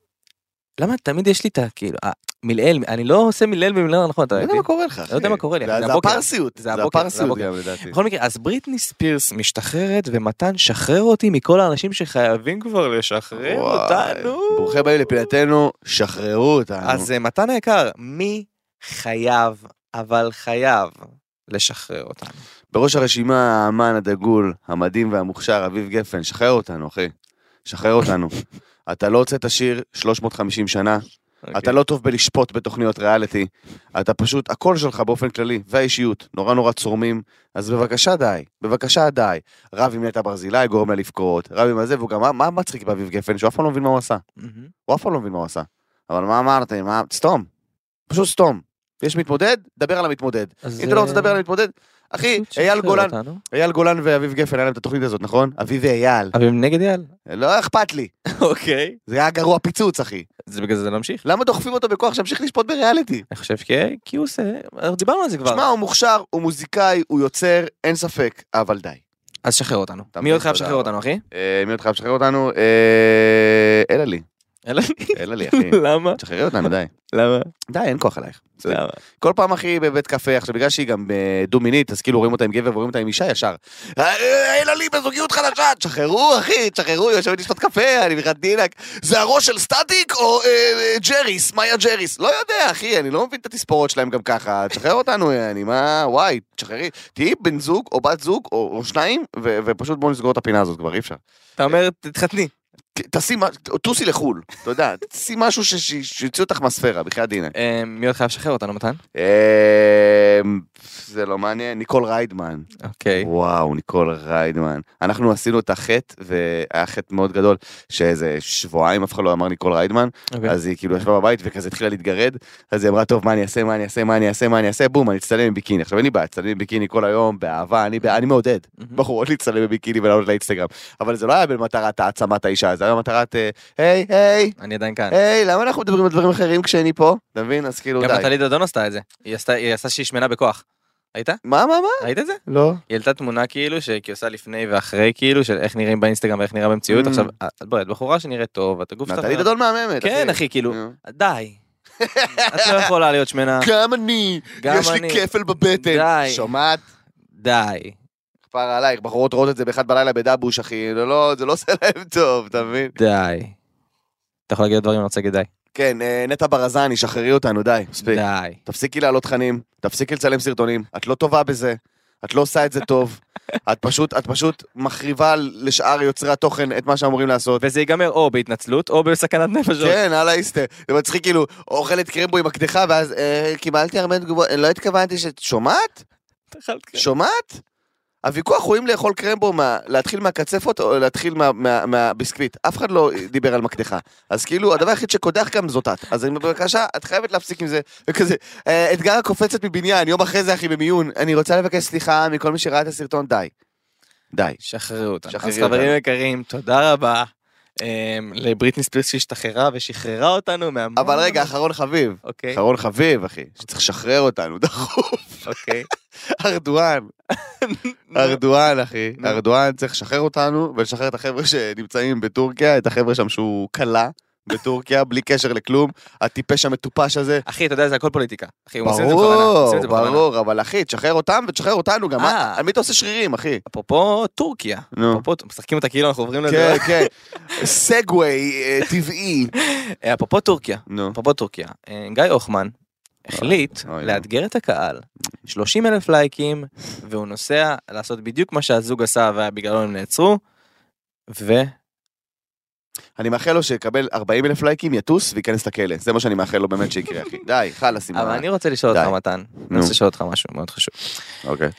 Speaker 3: למה תמיד יש לי את ה... כאילו, אה, מילאל, אני לא עושה מילאל במילה הנכון, אתה
Speaker 2: לא יודע
Speaker 3: מבין?
Speaker 2: מה קורה לך, אחי.
Speaker 3: יודע מה קורה לי,
Speaker 2: זה
Speaker 3: אחי, זה
Speaker 2: זה
Speaker 3: הבוקר.
Speaker 2: הפרסיות,
Speaker 3: זה
Speaker 2: זה
Speaker 3: הבוקר, זה
Speaker 2: הפרסיות
Speaker 3: הבוקר.
Speaker 2: גם לדעתי.
Speaker 3: בכל מקרה, אז בריטני ספירס משתחררת, ומתן, שחרר אותי מכל האנשים שחייבים כבר לשחרר
Speaker 2: וואי.
Speaker 3: אותנו.
Speaker 2: ברוכים הבאים לפינתנו, שחררו אותנו.
Speaker 3: אז אה, מתן היקר, מי חייב, אבל חייב, לשחרר אותנו?
Speaker 2: בראש הרשימה האמן הדגול, המדהים והמוכשר, אביב גפן, שחרר אותנו, אחי. שחרר אותנו. אתה לא הוצאת שיר 350 שנה,
Speaker 3: אוקיי.
Speaker 2: אתה לא טוב בלשפוט בתוכניות ריאליטי, אתה פשוט, הקול שלך באופן כללי, והאישיות, נורא נורא צורמים, אז בבקשה די, בבקשה די. רב עם נטע ברזילי, גורם לה לבכות, רב עם הזה, והוא גם, מה- מה מצחיק באביב גפן? שהוא אף פעם לא מבין מה הוא עשה.
Speaker 3: מהמם.
Speaker 2: הוא אף פעם לא מבין מה הוא עשה. אבל מה אמרתם? מה... סתום. פשוט סתום. יש מתמודד, דבר על המתמודד.
Speaker 3: אז,
Speaker 2: אם אתה לא רוצה
Speaker 3: אה,
Speaker 2: לדבר על המתמודד, אחי,
Speaker 3: פשוט
Speaker 2: אייל
Speaker 3: שחרר
Speaker 2: גולן,
Speaker 3: אותנו.
Speaker 2: אייל גולן ואביב גפן, היה להם את התוכנית הזאת, נכון? אביב ואייל.
Speaker 3: אבל הם נגד אייל.
Speaker 2: לא אכפת לי.
Speaker 3: אוקיי.
Speaker 2: זה היה גרוע פיצוץ, אחי.
Speaker 3: זה בגלל זה זה לא ממשיך.
Speaker 2: למה דוחפים אותו בכוח שימשיך לשפוט בריאליטי?
Speaker 3: אני חושב כי, כי הוא עושה, דיברנו על זה כבר.
Speaker 2: שמע, הוא מוכשר, הוא מוזיקאי, הוא יוצר, אין ספק, אבל די.
Speaker 3: אז שחרר אותנו.
Speaker 2: אתה
Speaker 3: מי עוד
Speaker 2: מבין,
Speaker 3: חייב
Speaker 2: תודה רבה.
Speaker 3: לשחרר אותנו, אחי?
Speaker 2: אה, מי עוד חייב לשחרר אותנו? אה, אלה לי.
Speaker 3: אלא-
Speaker 2: אלה לי, אחי.
Speaker 3: למה?
Speaker 2: תשחררי אותנו, די.
Speaker 3: למה?
Speaker 2: די, אין כוח אלייך. בסדר.
Speaker 3: למה?
Speaker 2: כל פעם אחי בבית קפה, עכשיו בגלל שהיא גם אה, דו-מינית, אז כאילו רואים אותה עם גבר ורואים אותה עם אישה ישר. "אה, אין לי בזוגיות חדשה, תשחררו אחי, תשחררו, היא יושבת לשתות קפה, אני בכלל דינק. זה הראש של סטטיק או אה, אה, ג'ריס, מאיה ג'ריס? לא יודע אחי, אני לא מבין את התספורות שלהם גם ככה, תשחרר אותנו, אה, אני מה, וואי, תשחררי. תהיי בן זוג או בת זוג או, או שניים, ו- ופשוט בואו נסגור את הפינה הזאת כבר, אי אפשר.
Speaker 3: אתה אומר, תתחתני.
Speaker 2: תשים, טוסי לחו"ל, אתה יודע, תשים משהו ש- ש- שיוציא אותך מהספירה, בחייאת דינק.
Speaker 3: אה, מי עוד חייב לשחרר אותנו, מתן?
Speaker 2: אמ, זה לא מעניין, ניקול ריידמן.
Speaker 3: אוקיי.
Speaker 2: וואו, ניקול ריידמן. אנחנו עשינו את החטא, והיה חטא מאוד גדול, שאיזה שבועיים אף אחד לא אמר ניקול ריידמן,
Speaker 3: אוקיי.
Speaker 2: אז היא כאילו ישבה בבית וכזה התחילה להתגרד, אז היא אמרה, טוב, מה אני אעשה, מה אני אעשה, מה אני אעשה, מה אני אעשה, בום, אני אצטלם עם ביקיני. עכשיו אין לי בעיה, אצטלם עם ביקיני כל היום, באהבה, אני אני מעודד.
Speaker 3: מהמם.
Speaker 2: בחורות להצטלם בביקיני ולעלות לאינסטגרם. אבל זה לא היה במטרת העצמת האישה, זה היה במטרת, אה, היי, היי,
Speaker 3: אני עדיין כאן.
Speaker 2: היי, למה אנחנו מדברים על דברים אחרים כשאני פה? אה. אתה מבין? אז כאילו,
Speaker 3: אה, גם
Speaker 2: די.
Speaker 3: נטלי דדון עשתה את זה. היא עשתה- היא עשתה שהיא שמנה בכוח. ראית?
Speaker 2: מה, מה, מה?
Speaker 3: ראית את זה?
Speaker 2: לא.
Speaker 3: אה. היא העלתה תמונה כאילו שהיא עושה לפני ואחרי כאילו של איך נראים באינסטגרם ואיך נראה במציאות
Speaker 2: Mm.
Speaker 3: עכשיו אה, את- בואי את בחורה שנראית טוב את הגוף שלך
Speaker 2: נטלי דדון מהממת.
Speaker 3: כן אחי כאילו די את לא יכולה להיות שמנה
Speaker 2: גם אני,
Speaker 3: גם
Speaker 2: יש
Speaker 3: אני.
Speaker 2: לי כפל בבטן.
Speaker 3: די.
Speaker 2: שומעת?
Speaker 3: די
Speaker 2: כפר עלייך, בחורות רואות את זה באחד בלילה בדבוש, אחי. זה לא, זה לא עושה להם טוב, אתה מבין?
Speaker 3: די. אתה יכול להגיד עוד דברים אני רוצה להגיד די
Speaker 2: כן, אה, נטע ברזני, שחררי אותנו, די, מספיק.
Speaker 3: די
Speaker 2: תפסיקי להעלות תכנים, תפסיקי לצלם סרטונים, את לא טובה בזה, את לא עושה את זה טוב. את פשוט, את פשוט מחריבה לשאר יוצרי התוכן את מה שאמורים לעשות.
Speaker 3: וזה ייגמר או בהתנצלות או בסכנת נפש.
Speaker 2: כן, על האיסטר. זה מצחיק, כאילו, אוכלת קרמבו עם הקדחה, ואז אה, קיבלתי הרבה תגובות, לא התכוונתי ש... שומעת?
Speaker 3: כן.
Speaker 2: שומעת? הוויכוח הוא אם לאכול קרמבו, מה, להתחיל מהקצפות או להתחיל מה- מה- מהביסקוויט. אף אחד לא דיבר על מקדחה. אז כאילו, הדבר היחיד שקודח גם זאת את. אז אני בבקשה, את חייבת להפסיק עם זה. וכזה, "אה, אתגר הקופצת מבניין, יום אחרי זה אחי במיון. אני רוצה לבקש סליחה מכל מי שראה את הסרטון, די. די.
Speaker 3: שחררו אותנו.
Speaker 2: שחררי
Speaker 3: אז חברים
Speaker 2: אותנו.
Speaker 3: יקרים תודה רבה. אמ, לבריטני ספירס שהשתחררה ושחררה אותנו מהמון.
Speaker 2: אבל רגע, אחרון חביב.
Speaker 3: אוקיי
Speaker 2: אחרון חביב, אחי, שצריך לשחרר אותנו, דחוף.
Speaker 3: אוקיי.
Speaker 2: ארדואן. ארדואן, אחי.
Speaker 4: נו.
Speaker 2: ארדואן צריך לשחרר אותנו ולשחרר את החבר'ה שנמצאים בטורקיה, את החבר'ה שם שהוא כלה בטורקיה, בלי קשר לכלום. הטיפש המטופש הזה.
Speaker 3: אחי, אתה יודע, זה הכל פוליטיקה. אחי, הוא עושה את זה בכוונה. עושים את
Speaker 2: ברור,
Speaker 3: זה בכוונה.
Speaker 2: ברור, אבל אחי, תשחרר אותם ותשחרר אותנו גם.
Speaker 3: אה.
Speaker 2: מה- על מי אתה עושה שרירים, אחי?
Speaker 3: אפרופו טורקיה.
Speaker 2: נו.
Speaker 3: אפרופו, משחקים אותה כאילו אנחנו עוברים לזה.
Speaker 2: כן, כן. סגווי אה, טבעי.
Speaker 3: אה, אפרופו טורקיה.
Speaker 2: נו.
Speaker 3: אפרופו טורקיה. אה, גיא הוחמן החליט
Speaker 2: אוי, נו.
Speaker 3: לאתגר את הקהל. 30 אלף לייקים, והוא נוסע לעשות בדיוק מה שהזוג עשה ובגללו הם נעצרו. ו...
Speaker 2: אני מאחל לו שיקבל 40 אלף לייקים, יטוס וייכנס לכלא. זה מה שאני מאחל לו באמת שיקרה, אחי. די, חלאס עם
Speaker 3: אבל
Speaker 2: ה...
Speaker 3: אני רוצה לשאול אותך,
Speaker 2: די.
Speaker 3: מתן. אני
Speaker 2: נו.
Speaker 3: רוצה לשאול אותך משהו מאוד חשוב.
Speaker 2: אוקיי.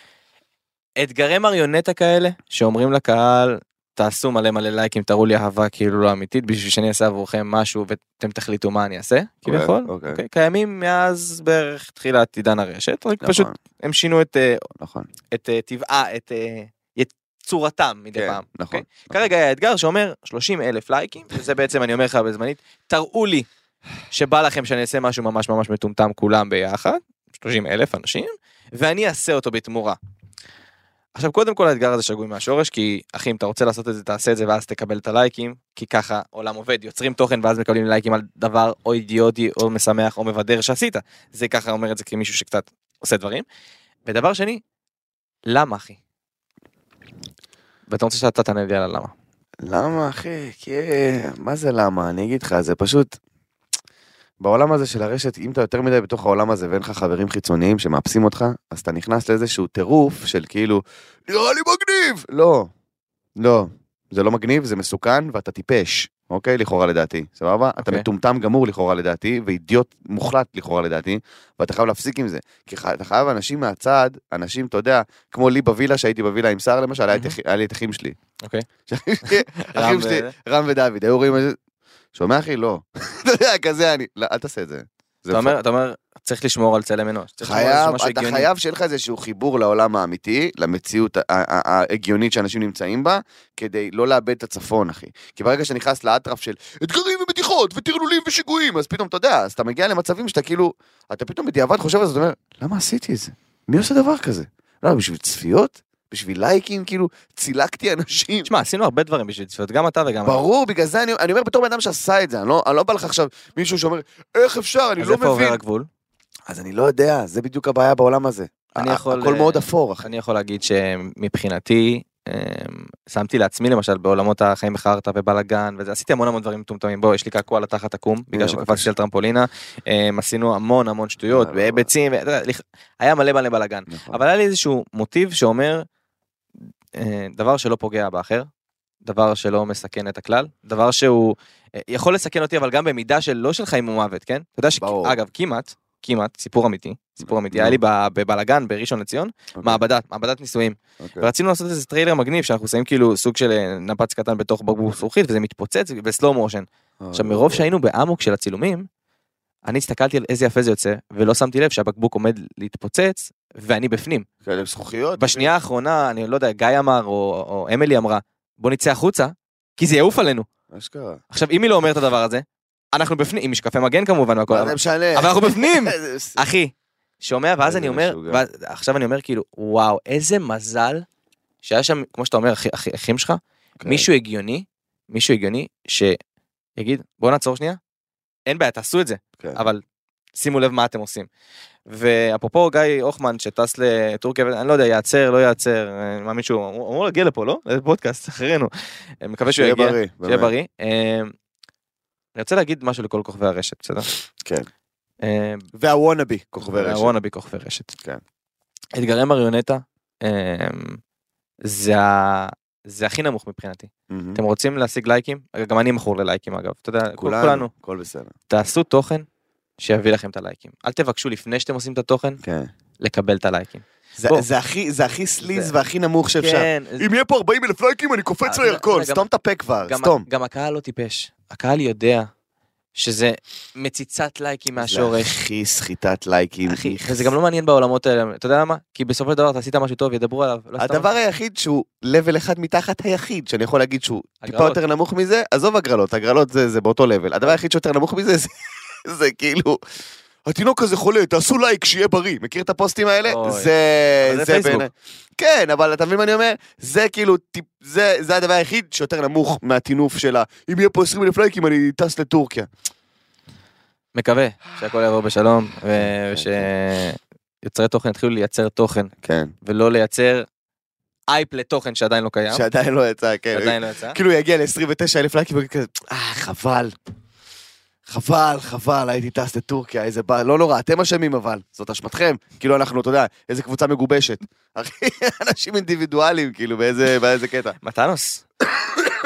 Speaker 3: אתגרי מריונטה כאלה, שאומרים לקהל, תעשו מלא מלא לייקים, תראו לי אהבה כאילו לא אמיתית, בשביל שאני אעשה עבורכם משהו ואתם תחליטו מה אני אעשה, כביכול.
Speaker 2: אוקיי.
Speaker 3: אוקיי, קיימים מאז בערך תחילת עידן הרשת, רק
Speaker 2: נכון,
Speaker 3: פשוט הם שינו את אה,
Speaker 2: נכון.
Speaker 3: את אה, טבעה, את אה, את צורתם מדי
Speaker 2: כן,
Speaker 3: פעם.
Speaker 2: נכון.
Speaker 3: אוקיי? כרגע היה אתגר שאומר 30 אלף לייקים, וזה בעצם אני אומר לך בזמנית, תראו לי שבא לכם שאני אעשה משהו ממש ממש מטומטם כולם ביחד, 30 אלף אנשים, ואני אעשה אותו בתמורה. עכשיו קודם כל האתגר הזה שגוי מהשורש, כי אחי אם אתה רוצה לעשות את זה תעשה את זה ואז תקבל את הלייקים, כי ככה עולם עובד, יוצרים תוכן ואז מקבלים לייקים על דבר או אידיוטי או משמח או מבדר שעשית, זה ככה אומר את זה כמישהו שקצת עושה דברים. ודבר שני, למה אחי? ואתה רוצה שאתה תענה לי על הלמה.
Speaker 2: למה, אחי? כי... מה זה למה? אני אגיד לך, זה פשוט... בעולם הזה של הרשת, אם אתה יותר מדי בתוך העולם הזה ואין לך חברים חיצוניים שמאפסים אותך, אז אתה נכנס לאיזשהו טירוף של כאילו, נראה לי מגניב! לא, לא, זה לא מגניב, זה מסוכן ואתה טיפש, אוקיי? לכאורה לדעתי, סבבה? אתה
Speaker 3: אוקיי.
Speaker 2: מטומטם גמור לכאורה לדעתי, ואידיוט מוחלט לכאורה לדעתי, ואתה חייב להפסיק עם זה. כי ח- אתה חייב אנשים מהצד, אנשים, אתה יודע, כמו לי בווילה, שהייתי בווילה עם סער למשל, היה את אחי- היה לי את אחים שלי.
Speaker 3: אוקיי.
Speaker 2: אחים
Speaker 3: ו-
Speaker 2: שלי, רם ודוד, היו רואים את זה. שומע אחי? לא. אתה יודע, כזה אני, לא, אל תעשה את זה. זה
Speaker 3: אתה אומר, אתה אומר, צריך לשמור על צלם אנוש. צריך לשמור על
Speaker 2: חייב,
Speaker 3: משהו
Speaker 2: אתה
Speaker 3: הגיוני.
Speaker 2: חייב שיהיה לך איזשהו חיבור לעולם האמיתי, למציאות ה- ה- ה- ההגיונית שאנשים נמצאים בה, כדי לא לאבד את הצפון, אחי. כי ברגע שאתה נכנס לאטרף של אתגרים ומתיחות וטרלולים ושיגועים, אז פתאום, אתה יודע, אז אתה מגיע למצבים שאתה כאילו, אתה פתאום בדיעבד חושב על זה, אתה אומר, למה עשיתי את זה? מי עושה דבר כזה? לא, בשביל צפיות? בשביל לייקים? כאילו, צילקתי אנשים.
Speaker 3: תשמע, עשינו הרבה דברים בשביל צפיות, גם אתה וגם... אני.
Speaker 2: ברור, בגלל זה אני, אני אומר בתור בן אדם שעשה את זה, אני לא, אני לא בא לך עכשיו מישהו שאומר, איך אפשר, אני
Speaker 3: אז
Speaker 2: לא
Speaker 3: איפה עובר
Speaker 2: מבין.
Speaker 3: הגבול?
Speaker 2: אז אני לא יודע, זה בדיוק הבעיה בעולם הזה.
Speaker 3: אני
Speaker 2: ה-
Speaker 3: יכול,
Speaker 2: הכל
Speaker 3: אה,
Speaker 2: מאוד אפור, אחי.
Speaker 3: אני יכול להגיד שמבחינתי, אמ, שמתי לעצמי למשל בעולמות החיים בחרטא ובלאגן וזה, עשיתי המון המון דברים מטומטמים, בוא, יש לי קעקוע לתחת עקום, בגלל
Speaker 2: הנה,
Speaker 3: שקפצתי
Speaker 2: בבקשה.
Speaker 3: על טרמפולינה, אמ, עשינו המון המון שטויות,
Speaker 2: אה,
Speaker 3: ביצים, ואתה יודע, לכ- היה מלא מלא בלאגן.
Speaker 2: נכון.
Speaker 3: אבל היה לי איזשהו מוטיב שאומר, אה, דבר שלא פוגע באחר, דבר שלא מסכן את הכלל, דבר שהוא אה, יכול לסכן אותי, אבל גם במידה של לא של חיים ומוות, כן? אתה יודע
Speaker 2: ברור.
Speaker 3: שאגב, כמעט, כמעט, סיפור אמיתי, סיפור אמיתי,
Speaker 2: נו.
Speaker 3: היה לי בבלגן בראשון לציון,
Speaker 2: אוקיי,
Speaker 3: מעבדת, מעבדת ניסויים.
Speaker 2: אוקיי.
Speaker 3: ורצינו לעשות איזה טריילר מגניב, שאנחנו שמים כאילו סוג של אה, נפץ קטן בתוך בקבוק זכוכית, וזה מתפוצץ בסלואו מושן.
Speaker 2: אה,
Speaker 3: עכשיו
Speaker 2: לא.
Speaker 3: מרוב שהיינו באמוק של הצילומים, אני הסתכלתי על איזה יפה זה יוצא, ולא שמתי לב שהבקבוק עומד להתפוצץ, ואני בפנים.
Speaker 2: אוקיי. כאלה זכוכיות.
Speaker 3: בשנייה האחרונה, אני לא יודע, גיא אמר, או, או אמילי אמרה, בוא נצא החוצה, כי זה יעוף עלינו.
Speaker 2: מה שקרה?
Speaker 3: עכשיו, אם היא לא אומרת את הדבר הזה, אנחנו בפנים, עם משקפי מגן כמובן, והכל,
Speaker 2: מה
Speaker 3: אבל,
Speaker 2: זה משנה? כן,
Speaker 3: אבל אנחנו בפנים!
Speaker 2: איזה ס-
Speaker 3: אחי, שומע, ואז
Speaker 2: איזה
Speaker 3: אני אומר,
Speaker 2: משוגע.
Speaker 3: ואז- עכשיו אני אומר כאילו, וואו, איזה מזל שהיה שם, כמו שאתה אומר, אחי- אחי- אחים שלך,
Speaker 2: אוקיי.
Speaker 3: אה, מישהו הגיוני, מישהו הגיוני, שיגיד, בוא נעצור שנייה, אין בעיה, תעשו את זה.
Speaker 2: כן.
Speaker 3: אבל שימו לב מה אתם עושים. ואפרופו גיא הוחמן שטס לטורקיה, אני לא יודע, ייעצר, לא ייעצר, אני מאמין שהוא אמור, אמור להגיע לפה, לא? זה פודקאסט אחרינו. אני מקווה שהוא
Speaker 2: שיהיה
Speaker 3: יגיע,
Speaker 2: בריא.
Speaker 3: שיהיה
Speaker 2: באמת.
Speaker 3: בריא. אה, אני רוצה להגיד משהו לכל כוכבי הרשת, בסדר?
Speaker 2: כן. והוואנאבי, כוכבי רשת.
Speaker 3: והוואנאבי כוכבי רשת.
Speaker 2: כן.
Speaker 3: אתגרי מריונטה, אה, זה ה- זה הכי נמוך מבחינתי.
Speaker 2: מהמם.
Speaker 3: אתם רוצים להשיג לייקים? גם אני מכור ללייקים אגב, אתה יודע,
Speaker 2: Mm. כולנו.
Speaker 3: כולנו.
Speaker 2: הכל בסדר.
Speaker 3: תעשו תוכן שיביא לכם את הלייקים. אל תבקשו לפני שאתם עושים את התוכן
Speaker 2: כן.
Speaker 3: לקבל את הלייקים.
Speaker 2: זה-
Speaker 3: בוא.
Speaker 2: זה הכי- זה הכי סליז
Speaker 3: זה-
Speaker 2: והכי נמוך שאפשר.
Speaker 3: זה-
Speaker 2: אם יהיה פה 40 אלף לייקים אני
Speaker 3: אה,
Speaker 2: קופץ
Speaker 3: זה-
Speaker 2: לירקון,
Speaker 3: זה גם-
Speaker 2: סתום את הפה כבר,
Speaker 3: גם-
Speaker 2: סתום.
Speaker 3: גם הקהל לא טיפש. הקהל יודע שזה מציצת לייקים
Speaker 2: זה
Speaker 3: מהשורש.
Speaker 2: הכי סחיטת לייקים.
Speaker 3: אחי, וזה גם לא מעניין בעולמות האלה, אתה יודע למה? כי בסופו של דבר אתה עשית משהו טוב, ידברו עליו. לא סתם-
Speaker 2: הדבר היחיד שהוא לבל אחד מתחת היחיד שאני יכול להגיד שהוא טיפה
Speaker 3: הגרלות. כן.
Speaker 2: יותר נמוך מזה, עזוב הגרלות, הגרלות זה, זה באותו לבל. הדבר היחיד שיותר נמוך מזה זה, זה כאילו, התינוק הזה חולה, תעשו לייק, שיהיה בריא. מכיר את הפוסטים האלה?
Speaker 3: אוי.
Speaker 2: זה...
Speaker 3: אבל זה פייסבוק.
Speaker 2: בעיניי- כן, אבל אתה מבין מה אני אומר? זה כאילו, טיפ- זה זה הדבר היחיד שיותר נמוך מהטינוף של ה... אם יהיה פה 20 אלף לייקים, אני טס לטורקיה.
Speaker 3: מקווה שהכל יעבור בשלום, ו- ושיוצרי תוכן יתחילו לייצר תוכן,
Speaker 2: כן.
Speaker 3: ולא לייצר אייפ לתוכן שעדיין לא קיים,
Speaker 2: שעדיין לא יצא, כן.
Speaker 3: שעדיין לא יצא.
Speaker 2: כאילו יגיע ל-29 אלף לייקים וכזה, אה, חבל. חבל, חבל, הייתי טס לטורקיה, איזה בר... לא נורא, אתם אשמים אבל, זאת אשמתכם. כאילו אנחנו, אתה יודע, איזה קבוצה מגובשת. אחי, אנשים אינדיבידואלים, כאילו, באיזה, באיזה קטע.
Speaker 3: מתנוס,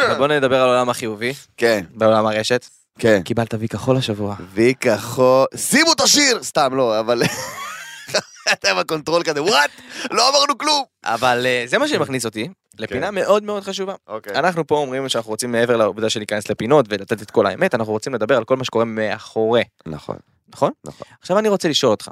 Speaker 3: אבל בוא נדבר על העולם החיובי,
Speaker 2: כן,
Speaker 3: בעולם הרשת.
Speaker 2: כן.
Speaker 3: קיבלת וי כחול השבוע.
Speaker 2: וי כחול, שימו את השיר! סתם, לא, אבל... אתה עם הקונטרול כזה, וואט? לא אמרנו כלום!
Speaker 3: אבל אה, זה מה שמכניס אותי לפינה
Speaker 2: כן.
Speaker 3: מאוד מאוד חשובה.
Speaker 2: אוקיי.
Speaker 3: אנחנו פה אומרים שאנחנו רוצים מעבר לעובדה של להיכנס לפינות ולתת את כל האמת, אנחנו רוצים לדבר על כל מה שקורה מאחורי,
Speaker 2: נכון.
Speaker 3: נכון?
Speaker 2: נכון.
Speaker 3: עכשיו אני רוצה לשאול אותך,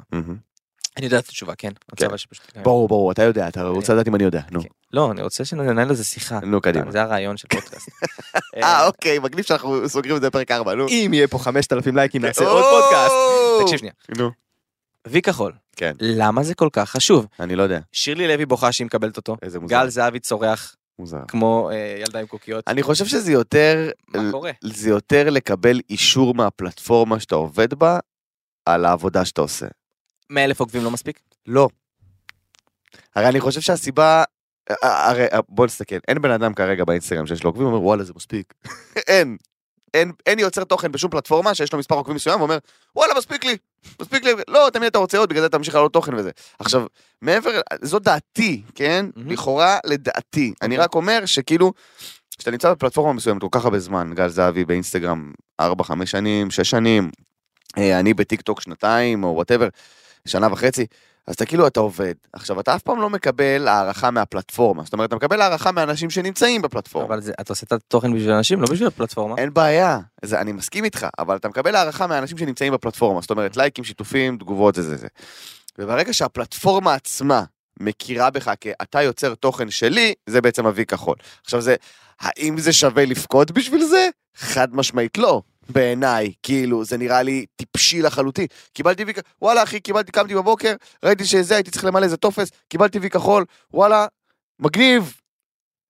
Speaker 3: אני יודע את התשובה, כן? רוצה אבל שפשוט-
Speaker 2: ברור, ברור, אתה יודע, אתה רוצה לדעת אם אני יודע, נו.
Speaker 3: לא, אני רוצה שננהל לזה שיחה.
Speaker 2: נו, קדימה.
Speaker 3: זה הרעיון של פודקאסט.
Speaker 2: אה, אוקיי, מגניב שאנחנו סוגרים את זה בפרק 4, נו.
Speaker 3: אם יהיה פה 5,000 לייקים נעשה
Speaker 2: או!
Speaker 3: עוד פודקאסט. תקשיב שנייה.
Speaker 2: נו.
Speaker 3: וי כחול,
Speaker 2: כן.
Speaker 3: למה זה כל כך חשוב?
Speaker 2: אני לא יודע.
Speaker 3: שירלי לוי בוכה שהיא מקבלת אותו,
Speaker 2: איזה מוזר.
Speaker 3: גל זהבי צורח
Speaker 2: מוזר.
Speaker 3: כמו אה, ילדה עם קוקיות,
Speaker 2: אני חושב שזה יותר,
Speaker 3: מה קורה?
Speaker 2: זה יותר לקבל אישור מהפלטפורמה שאתה עובד בה על העבודה שאתה עושה.
Speaker 3: 100 אלף עוקבים לא מספיק?
Speaker 2: לא. הרי אני חושב שהסיבה... אה, הרי אה, בוא נסתכל, אין בן אדם כרגע באינסטגרם שיש לו עוקבים, אומר וואלה זה מספיק. אין. אין, אין יוצר תוכן בשום פלטפורמה שיש לו מספר עוקבים מסוים ואומר וואלה מספיק לי, מספיק לי, לא תמיד אתה רוצה עוד בגלל זה אתה ממשיך לעלות תוכן וזה. עכשיו מעבר, זו דעתי, כן?
Speaker 3: מהמם.
Speaker 2: לכאורה לדעתי. אני רק אומר שכאילו, כשאתה נמצא בפלטפורמה מסוימת כל כך הרבה זמן, גל זהבי באינסטגרם 4-5 שנים, 6 שנים, אה, אני בטיקטוק שנתיים או וואטאבר, שנה וחצי, אז אתה כאילו, אתה עובד. עכשיו, אתה אף פעם לא מקבל הערכה מהפלטפורמה. זאת אומרת, אתה מקבל הערכה מאנשים שנמצאים בפלטפורמה.
Speaker 3: אבל זה- אתה עושה את התוכן בשביל אנשים, לא בשביל הפלטפורמה.
Speaker 2: אין בעיה, זה, אני מסכים איתך, אבל אתה מקבל הערכה מהאנשים שנמצאים בפלטפורמה. זאת אומרת, לייקים, שיתופים, תגובות, זה זה זה. וברגע שהפלטפורמה עצמה מכירה בך כאתה יוצר תוכן שלי, זה בעצם אבי כחול. עכשיו זה, האם זה שווה לבכות בשביל זה? חד משמעית לא. בעיניי, כאילו, זה נראה לי טיפשי לחלוטין. קיבלתי וי כחול, וואלה אחי, קיבלתי, קמתי בבוקר, ראיתי שזה, הייתי צריך למלא איזה טופס, קיבלתי וי כחול, וואלה, מגניב.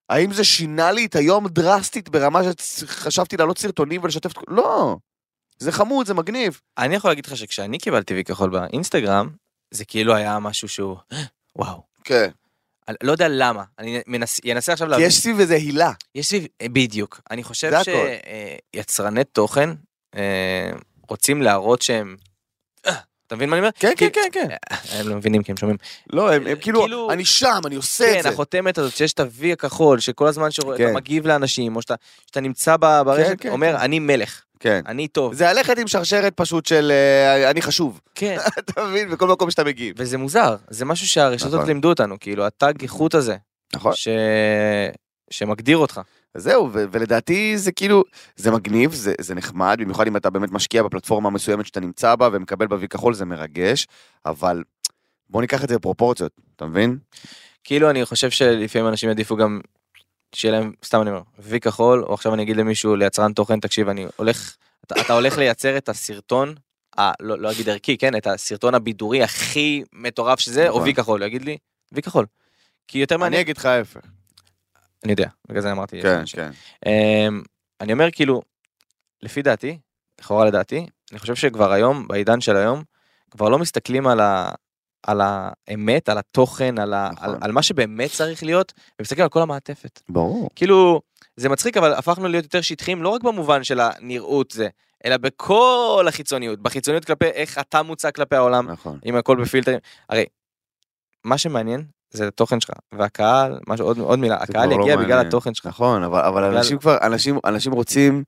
Speaker 2: האם זה שינה לי את היום דרסטית ברמה שחשבתי להעלות סרטונים ולשתף את... כל- לא. זה חמוד, זה מגניב.
Speaker 3: אני יכול להגיד לך שכשאני קיבלתי וי כחול באינסטגרם, זה כאילו היה משהו שהוא, וואו.
Speaker 2: כן.
Speaker 3: אני לא יודע למה, אני מנס- אנסה עכשיו
Speaker 2: כי
Speaker 3: להבין.
Speaker 2: יש סביב איזה הילה.
Speaker 3: יש סביב, בדיוק. אני חושב
Speaker 2: זה הכל.
Speaker 3: שיצרני תוכן אה, רוצים להראות שהם... אה, אתה מבין מה אני אומר?
Speaker 2: כן,
Speaker 3: כי-
Speaker 2: כן, כן.
Speaker 3: הם לא מבינים כי הם שומעים.
Speaker 2: לא, הם, הם
Speaker 3: כאילו-
Speaker 2: כאילו, נכון. אני שם, אני עושה
Speaker 3: כן,
Speaker 2: את זה.
Speaker 3: החותמת הזאת שיש את ה-V הכחול, שכל הזמן שרואה,
Speaker 2: כן.
Speaker 3: אתה מגיב לאנשים, או שאתה שאתה נמצא ב- ברשת,
Speaker 2: כן,
Speaker 3: אומר, אני מלך,
Speaker 2: כן.
Speaker 3: אני טוב.
Speaker 2: זה הלכת עם שרשרת פשוט של אה, אני חשוב.
Speaker 3: כן.
Speaker 2: אתה מבין? בכל מקום שאתה מגיב.
Speaker 3: וזה מוזר, זה משהו שהרשתות
Speaker 2: נכון.
Speaker 3: לימדו אותנו, כאילו, הטאג איכות הזה,
Speaker 2: נכון.
Speaker 3: ש... שמגדיר אותך.
Speaker 2: אז זהו, ו- ולדעתי זה כאילו, זה מגניב, זה, זה נחמד, במיוחד אם אתה באמת משקיע בפלטפורמה המסוימת שאתה נמצא בה ומקבל בי כחול, זה מרגש, אבל בוא ניקח את זה בפרופורציות, אתה מבין?
Speaker 3: כאילו, אני חושב שלפעמים אנשים יעדיפו גם, שיהיה להם, סתם אני אומר, וי כחול, או עכשיו אני אגיד למישהו, ליצרן תוכן, תקשיב, אני הולך, אתה, אתה הולך לייצר את הסרטון, ה, לא, לא אגיד ערכי, כן, את הסרטון הבידורי הכי מטורף שזה, או
Speaker 2: נכון.
Speaker 3: וי כחול, הוא יגיד לי, וי כחול. כי יותר
Speaker 2: אני
Speaker 3: מעניין,
Speaker 2: אגיד לך ההפך.
Speaker 3: אני יודע, בגלל זה אמרתי.
Speaker 2: כן,
Speaker 3: ש-
Speaker 2: כן.
Speaker 3: אמ, אני אומר כאילו, לפי דעתי, לכאורה לדעתי, אני חושב שכבר היום, בעידן של היום, כבר לא מסתכלים על, ה, על האמת, על התוכן, על, ה,
Speaker 2: נכון.
Speaker 3: על, על מה שבאמת צריך להיות, ומסתכלים על כל המעטפת.
Speaker 2: ברור.
Speaker 3: כאילו, זה מצחיק, אבל הפכנו להיות יותר שטחיים, לא רק במובן של הנראות זה, אלא בכל החיצוניות, בחיצוניות כלפי איך אתה מוצא כלפי העולם,
Speaker 2: נכון.
Speaker 3: אם הכל בפילטרים. הרי, מה שמעניין זה התוכן שלך, והקהל, משהו, עוד, עוד מילה, הקהל
Speaker 2: כבר לא
Speaker 3: יגיע בגלל
Speaker 2: מעניין.
Speaker 3: התוכן שלך.
Speaker 2: נכון, אבל, אבל
Speaker 3: בגלל-
Speaker 2: אנשים כבר, אנשים, אנשים רוצים,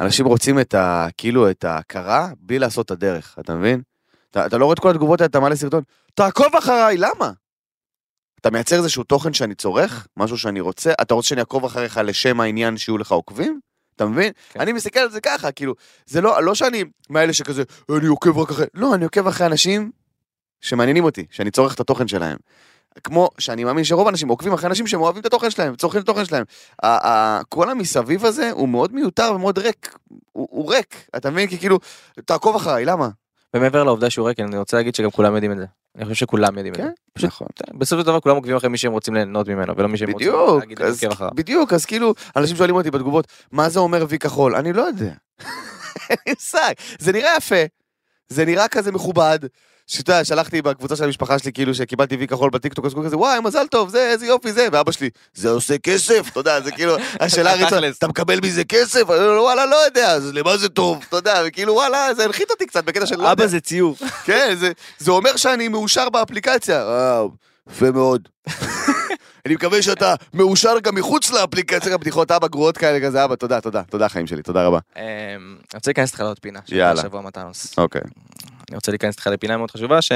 Speaker 2: אנשים רוצים את ה... כאילו, את ההכרה בלי לעשות את הדרך, אתה מבין? אתה, אתה לא רואה את כל התגובות האלה, אתה מעלה סרטון, תעקוב אחריי, למה? אתה מייצר איזשהו תוכן שאני צורך, משהו שאני רוצה, אתה רוצה שאני אעקוב אחריך לשם העניין שיהיו לך עוקבים? אתה מבין?
Speaker 3: כן.
Speaker 2: כן. אני מסתכל על זה ככה, כאילו, זה לא, לא שאני מאלה שכזה, אני עוקב רק אחרי, לא, אני עוקב אחרי אנשים שמעניינים אותי, שאני צורך את התוכן שלהם. כמו שאני מאמין שרוב האנשים עוקבים אחרי אנשים שהם אוהבים את התוכן שלהם, צורכים את התוכן שלהם. ה- ה- כל המסביב הזה הוא מאוד מיותר ומאוד ריק. הוא הוא ריק, אתה מבין? כי כאילו, תעקוב אחריי, למה?
Speaker 3: ומעבר לעובדה שהוא רקן, אני רוצה להגיד שגם כולם יודעים את זה. אני חושב שכולם יודעים את זה.
Speaker 2: כן,
Speaker 3: פשוט-
Speaker 2: נכון.
Speaker 3: בסופו של דבר כולם עוקבים אחרי מי שהם רוצים ליהנות ממנו, ולא מי שהם רוצים
Speaker 2: בדיוק,
Speaker 3: להגיד
Speaker 2: אז,
Speaker 3: עוקב אחריו.
Speaker 2: בדיוק, אז כאילו, אנשים שואלים אותי בתגובות, מה זה אומר וי כחול? אני לא יודע. אין לי מושג. זה נראה יפה, זה נראה כזה מכובד. שאתה יודע, שלחתי בקבוצה של המשפחה שלי, כאילו, שקיבלתי וי כחול בטיקטוק, אז כולם כזה, וואי, מזל טוב, זה, איזה יופי זה, ואבא שלי, זה עושה כסף, אתה יודע, זה כאילו, השאלה הראשונה, אתה מקבל מזה כסף? אני אומר לו, וואלה, לא יודע, אז למה זה טוב, אתה יודע, וכאילו, וואלה, זה הנחית אותי קצת בקטע של לא יודע.
Speaker 3: אבא זה ציור.
Speaker 2: כן, זה, זה אומר שאני מאושר באפליקציה. וואו, יפה מאוד. אני מקווה שאתה מאושר גם מחוץ לאפליקציה, גם בדיחות אבא גרועות כאלה כזה, אבא, תודה, תודה, תודה חיים שלי, תודה רבה.
Speaker 3: אמ, אני רוצה להיכנס איתך לעוד פינה. של
Speaker 2: יאללה.
Speaker 3: השבוע מתנוס.
Speaker 2: אוקיי.
Speaker 3: אני רוצה להיכנס איתך לפינה מאוד חשובה ש...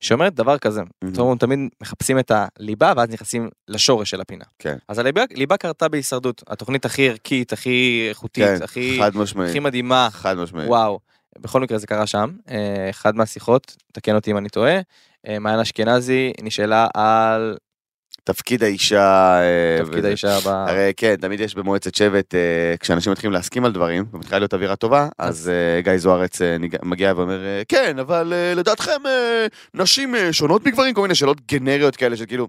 Speaker 3: שאומרת דבר כזה, זאת אומרת, תמיד מחפשים את הליבה ואז נכנסים לשורש של הפינה.
Speaker 2: כן.
Speaker 3: אז הליבה ליבה קרתה בהישרדות, התוכנית הכי ערכית, הכי איכותית,
Speaker 2: כן,
Speaker 3: הכי,
Speaker 2: חד משמעית.
Speaker 3: הכי מדהימה,
Speaker 2: חד משמעית.
Speaker 3: וואו. בכל מקרה זה קרה שם, אה, אחד מהשיחות, תקן אותי אם אני טועה, אה, מעיין אשכנזי נשאלה על
Speaker 2: תפקיד האישה... אה,
Speaker 3: תפקיד
Speaker 2: וזה.
Speaker 3: האישה ב...
Speaker 2: הרי כן, תמיד יש במועצת שבט, אה, כשאנשים מתחילים להסכים על דברים, ומתחילה להיות אווירה טובה, אז אה, גיא זוארץ אה, ניג- מגיע ואומר, אה, כן, אבל אה, לדעתכם אה, נשים אה, שונות מגברים? כל מיני שאלות גנריות כאלה של כאילו,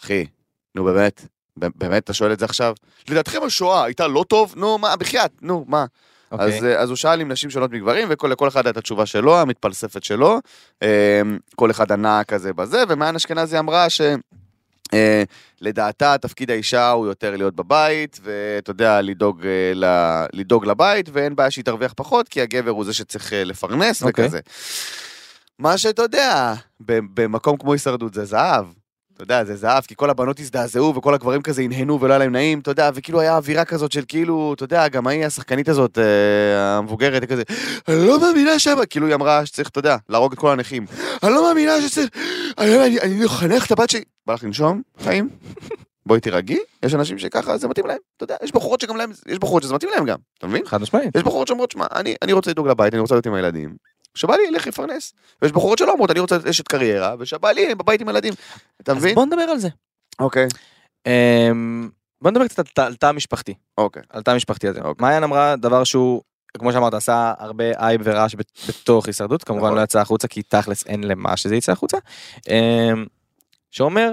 Speaker 2: אחי, נו באמת, ב- באמת אתה שואל את זה עכשיו? לדעתכם השואה הייתה לא טוב? נו, מה, בחייאת, נו, מה?
Speaker 3: אוקיי.
Speaker 2: אז, אה, אז הוא שאל אם נשים שונות מגברים, ולכל אחד הייתה התשובה שלו, המתפלספת שלו. אה, כל אחד ענה כזה בזה, ומעיין אשכנזי אמרה ש... אה, לדעתה תפקיד האישה הוא יותר להיות בבית, ואתה יודע, לדאוג, אה, ל... לדאוג לבית, ואין בעיה שהיא תרוויח פחות, כי הגבר הוא זה שצריך אה, לפרנס
Speaker 3: אוקיי.
Speaker 2: וכזה. מה שאתה יודע, ב- במקום כמו הישרדות זה זהב. אתה יודע, זה זהב, כי כל הבנות הזדעזעו וכל הגברים כזה הנהנו ולא היה להם נעים, אתה יודע, וכאילו היה אווירה כזאת של כאילו, אתה יודע, גם ההיא השחקנית הזאת, אה, המבוגרת, היא כזה, אני לא מאמינה שמה, כאילו היא אמרה שצריך, אתה יודע, להרוג את כל הנכים. אני לא מאמינה שצריך, אני לא מאמינה, אני אחנך את הבת שלי. בא לך לנשום, חיים? בואי תירגעי, יש אנשים שככה זה מתאים להם, אתה יודע, יש בחורות שגם להם, יש בחורות שזה מתאים להם גם, אתה מבין?
Speaker 3: חד משמעית.
Speaker 2: יש בחורות שאומרות, שמע, אני, אני רוצה לדאוג לבית, אני רוצה להיות עם הילדים. שבא לי, לך לפרנס. ויש בחורות שלא אומרות, אני רוצה אשת קריירה, ושבא לי, בבית עם הילדים. אתה
Speaker 3: אז
Speaker 2: מבין?
Speaker 3: בוא נדבר על זה.
Speaker 2: אוקיי.
Speaker 3: אמ, בוא נדבר קצת על תא- על תא המשפחתי.
Speaker 2: אוקיי.
Speaker 3: על תא המשפחתי הזה.
Speaker 2: אוקיי.
Speaker 3: מעיין אמרה דבר שהוא, כמו שאמרת, עשה הרבה אייב ורעש בת- בתוך הישרדות, כמובן
Speaker 2: נכון.
Speaker 3: לא יצא החוצה, כי תכלס אין למה שזה יצא החוצה. אמ, שאומר,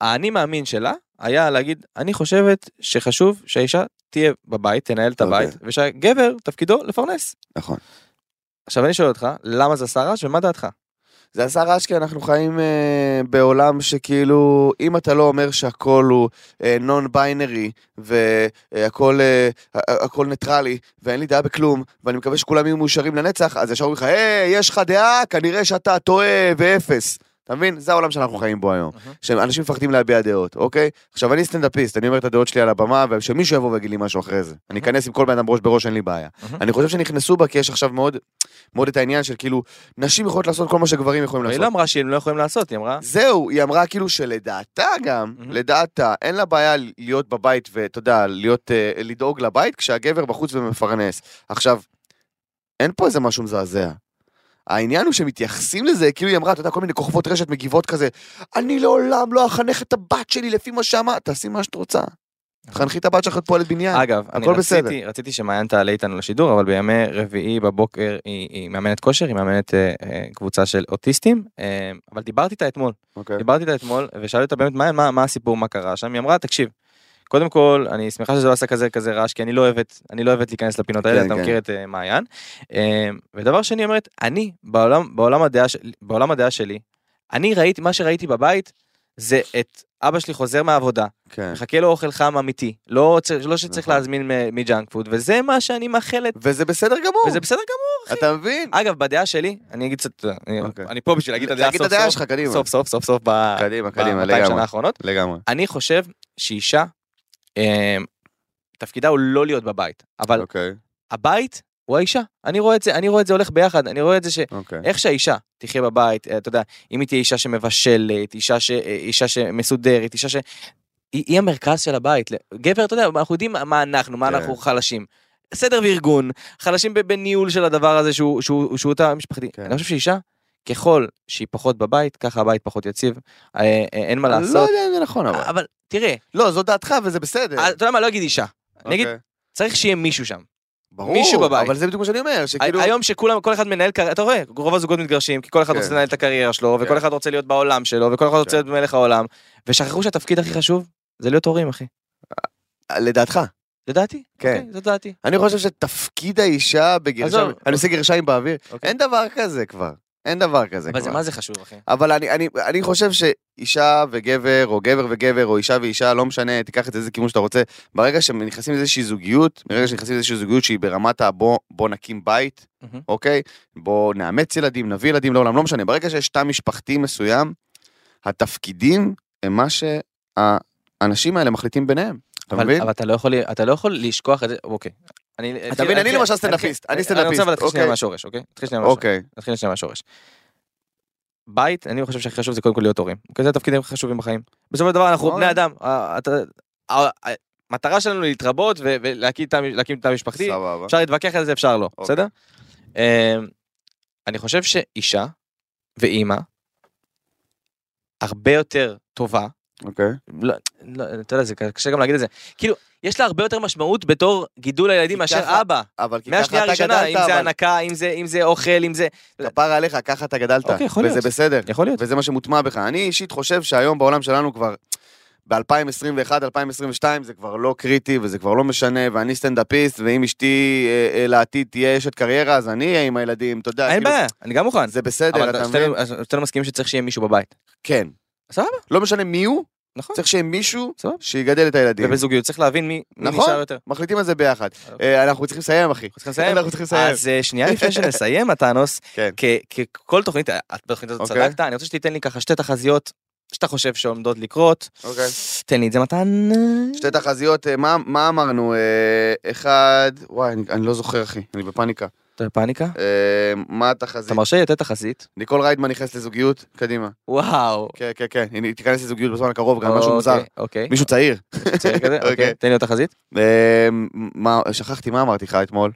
Speaker 3: האני מאמין שלה היה להגיד, אני חושבת שחשוב שהאישה תהיה בבית, תנהל את
Speaker 2: אוקיי.
Speaker 3: הבית, ושהגבר תפקידו לפרנס.
Speaker 2: נכון.
Speaker 3: עכשיו אני שואל אותך, למה זה עשה רעש ומה דעתך?
Speaker 2: זה עשה רעש כי אנחנו חיים אה, בעולם שכאילו, אם אתה לא אומר שהכל הוא נון ביינרי, והכל אה, ה- הכל ניטרלי, ואין לי דעה בכלום, ואני מקווה שכולם יהיו מאושרים לנצח, אז ישר אומרים לך, היי, יש לך דעה, כנראה שאתה טועה ואפס. אתה מבין? זה העולם שאנחנו חיים בו היום.
Speaker 3: אהה.
Speaker 2: שאנשים מפחדים להביע דעות, אוקיי? עכשיו, אני סטנדאפיסט, אני אומר את הדעות שלי על הבמה, ושמישהו יבוא ויגיד לי משהו אחרי זה. אני אכנס עם כל בן אדם ראש בראש, אין לי בעיה.
Speaker 3: אהה.
Speaker 2: אני חושב שנכנסו בה, כי יש עכשיו מאוד מאוד את העניין של כאילו, נשים יכולות לעשות כל מה שגברים יכולים
Speaker 3: היא לא
Speaker 2: לעשות.
Speaker 3: אמרה שהם לא יכולים לעשות, היא אמרה,
Speaker 2: זהו, היא אמרה כאילו שלדעתה גם,
Speaker 3: Mhm.
Speaker 2: לדעתה, אין לה בעיה להיות בבית ואתה יודע, להיות, אה, לדאוג לבית כשהגבר בחוץ ומפרנס. עכשיו, אין פה איזה משהו מזעזע. העניין הוא שמתייחסים לזה, כאילו היא אמרה, אתה יודע, כל מיני כוכבות רשת מגיבות כזה, אני לעולם לא אחנך את הבת שלי לפי מה שאמרת, תעשי מה שאת רוצה.
Speaker 3: נכון.
Speaker 2: תחנכי את הבת שלך להיות פועלת בניין.
Speaker 3: אגב, אני
Speaker 2: כן. הכל בסדר.
Speaker 3: רציתי, רציתי שמעיין תעלה איתנו לשידור, אבל בימי רביעי בבוקר היא, היא מאמנת כושר, היא מאמנת אה, אה, קבוצה של אוטיסטים, אה, אבל דיברתי איתה אתמול,
Speaker 2: אוקיי.
Speaker 3: דיברתי איתה אתמול, ושאלתי אותה באמת מעיין, מה, מה הסיפור, מה קרה שם, היא אמרה, תקשיב, קודם כל, אני שמחה שזה לא עשה כזה כזה רעש, כי אני לא אוהבת, אני לא אוהבת להיכנס לפינות האלה,
Speaker 2: כן,
Speaker 3: אתה
Speaker 2: כן.
Speaker 3: מכיר את אה, מעיין. אה, ודבר שני, היא אומרת, אני, בעולם, בעולם, הדעה, של- בעולם הדעה שלי, אני ראיתי, מה שראיתי בבית, זה את אבא שלי חוזר מהעבודה,
Speaker 2: כן.
Speaker 3: מחכה לו אוכל חם אמיתי, לא, צר- לא שצריך
Speaker 2: נכון.
Speaker 3: להזמין מ- מג'אנק פוד, וזה מה שאני מאחלת,
Speaker 2: וזה בסדר גמור,
Speaker 3: וזה בסדר גמור.
Speaker 2: אתה מבין?
Speaker 3: אגב, בדעה שלי, אני אגיד קצת, אני-
Speaker 2: אוקיי.
Speaker 3: אני פה בשביל להגיד את הדעה
Speaker 2: תגיד
Speaker 3: סוף
Speaker 2: הדעה
Speaker 3: סוף,
Speaker 2: שלך, קדימה.
Speaker 3: סוף סוף סוף סוף ב-
Speaker 2: קדימה, קדימה,
Speaker 3: ב-200 שנה
Speaker 2: לגמרי.
Speaker 3: האחרונות.
Speaker 2: לגמרי.
Speaker 3: אני חושב שאישה, אה, תפקידה הוא לא להיות בבית, אבל
Speaker 2: אוקיי,
Speaker 3: הבית הוא האישה. אני רואה את זה, אני רואה את זה הולך ביחד, אני רואה את זה ש...
Speaker 2: אוקיי.
Speaker 3: איך שהאישה תחיה בבית, אה, אתה יודע, אם היא תהיה אישה שמבשלת, אישה, ש... אה, אישה שמסודרת, אישה ש... היא, היא המרכז של הבית. גבר, אתה יודע, אנחנו יודעים מה- מה אנחנו, מה
Speaker 2: כן.
Speaker 3: אנחנו חלשים. סדר וארגון, חלשים ב- בניהול של הדבר הזה שהוא, שהוא, שהוא תא משפחתי.
Speaker 2: כן.
Speaker 3: אני לא חושב שאישה, ככל שהיא פחות בבית, ככה הבית פחות יציב, אה, אה, אין מה
Speaker 2: אני לא
Speaker 3: לעשות.
Speaker 2: יודע אם זה נכון אבל.
Speaker 3: אבל תראה, אה,
Speaker 2: לא, זו דעתך וזה בסדר.
Speaker 3: אתה יודע מה, לא אגיד אישה. אני אגיד,
Speaker 2: אוקיי.
Speaker 3: צריך שיהיה מישהו שם.
Speaker 2: ברור,
Speaker 3: מישהו בבית.
Speaker 2: אבל זה בדיוק מה שאני אומר, שכאילו...
Speaker 3: היום שכולם, כל אחד מנהל קריירה, אתה רואה, רוב הזוגות מתגרשים, כי כל אחד
Speaker 2: כן.
Speaker 3: רוצה לנהל את הקריירה שלו,
Speaker 2: כן.
Speaker 3: וכל אחד רוצה להיות בעולם שלו, וכל אחד רוצה להיות במלך העולם, ושכחו שהתפקיד הכי חשוב זה להיות הורים, אחי.
Speaker 2: לדעתך.
Speaker 3: זה דעתי.
Speaker 2: כן.
Speaker 3: אוקיי, זו דעתי.
Speaker 2: אני חושב שתפקיד האישה בגרשיים,
Speaker 3: עזוב.
Speaker 2: אני עושה גרשיים באוויר,
Speaker 3: אוקיי.
Speaker 2: אין דבר כזה כבר. אין דבר כזה
Speaker 3: אבל זה
Speaker 2: כבר.
Speaker 3: מה זה חשוב, אחי?
Speaker 2: אבל אני, אני, אני חושב שאישה וגבר, או גבר וגבר, או אישה ואישה, לא משנה, תיקח את זה איזה כיוון שאתה רוצה. ברגע שנכנסים לאיזושהי זוגיות, ברגע שנכנסים לאיזושהי זוגיות שהיא ברמת הבוא בוא נקים בית,
Speaker 3: מהמם.
Speaker 2: אוקיי? בוא נאמץ ילדים, נביא ילדים לעולם, לא משנה. ברגע שיש תא משפחתי מסוים, התפקידים הם מה שהאנשים האלה מחליטים ביניהם. אתה
Speaker 3: אבל-
Speaker 2: מבין?
Speaker 3: אבל אתה לא יכול, אתה לא יכול לשכוח את זה, אוקיי. אני-
Speaker 2: אתה מבין, אני למשל סטנדאפיסט, אני
Speaker 3: אני
Speaker 2: סטנדאפיסט,
Speaker 3: רוצה אבל להתחיל שנייה
Speaker 2: אוקיי.
Speaker 3: מהשורש, אוקיי? נתחיל שנייה מהשורש.
Speaker 2: אוקיי,
Speaker 3: נתחיל שנייה מהשורש. בית, אני חושב שהכי חשוב זה קודם כל להיות הורים. אוקיי, זה התפקידים הכי חשובים בחיים. בסופו של דבר אנחנו
Speaker 2: נכון.
Speaker 3: בני אדם. אה, אתה- אה, אה, המטרה שלנו היא להתרבות ו- ולהקים תא- להקים תא משפחתי.
Speaker 2: סבבה.
Speaker 3: אפשר להתווכח על זה, אפשר לא,
Speaker 2: אוקיי.
Speaker 3: בסדר? אה, אני חושב שאישה ואימא הרבה יותר טובה
Speaker 2: אוקיי.
Speaker 3: לא, לא, אתה יודע, זה קשה גם להגיד את זה. כאילו, יש לה הרבה יותר משמעות בתור גידול הילדים
Speaker 2: כי
Speaker 3: מאשר
Speaker 2: ככה-
Speaker 3: אבא.
Speaker 2: אבל כי ככה
Speaker 3: מהשנייה
Speaker 2: אתה
Speaker 3: הראשונה, אם
Speaker 2: גדלת,
Speaker 3: זה
Speaker 2: אבל
Speaker 3: הנקה, אם זה- אם זה אוכל, אם זה...
Speaker 2: כפרה עליך, ככה אתה גדלת.
Speaker 3: אוקיי, יכול להיות.
Speaker 2: וזה בסדר.
Speaker 3: יכול להיות.
Speaker 2: וזה מה שמוטמע בך. אני אישית חושב שהיום בעולם שלנו כבר, ב-2021, 2022, זה כבר לא קריטי וזה כבר לא משנה, ואני סטנדאפיסט, ואם אשתי אה, אה, לעתיד תהיה אשת קריירה, אז אני אהיה עם הילדים, אתה יודע,
Speaker 3: אין
Speaker 2: כאילו,
Speaker 3: בעיה, אני גם מוכן.
Speaker 2: זה בסדר,
Speaker 3: אבל
Speaker 2: אתה
Speaker 3: שתי-
Speaker 2: מבין?
Speaker 3: אז אתם מסכימים שצריך שיהיה מישהו בבית.
Speaker 2: כן.
Speaker 3: סבבה.
Speaker 2: לא משנה מי הוא,
Speaker 3: נכון.
Speaker 2: צריך שיהיה מישהו
Speaker 3: סבבה.
Speaker 2: שיגדל את הילדים.
Speaker 3: ובזוגיות צריך להבין מי מי
Speaker 2: נכון.
Speaker 3: נשאר יותר.
Speaker 2: מחליטים על זה ביחד.
Speaker 3: אוקיי.
Speaker 2: אה, אנחנו צריכים לסיים, אחי.
Speaker 3: צריכים לסיים?
Speaker 2: אנחנו צריכים לסיים.
Speaker 3: אז אה, שנייה לפני שנסיים, מתנוס,
Speaker 2: כן.
Speaker 3: כ- ככל תוכנית, אה, את בתוכנית הזאת
Speaker 2: אוקיי.
Speaker 3: צדקת, אני רוצה שתיתן לי ככה שתי תחזיות שאתה חושב שעומדות לקרות.
Speaker 2: אוקיי.
Speaker 3: תן לי את זה, מתן.
Speaker 2: שתי תחזיות, אה, מה- מה אמרנו? אה, אחד, וואי, אני- אני לא זוכר, אחי, אני בפאניקה.
Speaker 3: אתה בפאניקה?
Speaker 2: אה, מה התחזית?
Speaker 3: אתה מרשה לי לתת תחזית?
Speaker 2: ניקול ריידמן נכנס לזוגיות, קדימה.
Speaker 3: וואו.
Speaker 2: כן, כן, כן, הנה, היא תיכנס לזוגיות בזמן הקרוב, גם משהו מוזר.
Speaker 3: אוקיי, אוקיי.
Speaker 2: מישהו צעיר.
Speaker 3: צעיר כזה? אוקיי.
Speaker 2: אוקיי.
Speaker 3: תן לי עוד תחזית.
Speaker 2: אה, מה, שכחתי, מה אמרתי לך אתמול?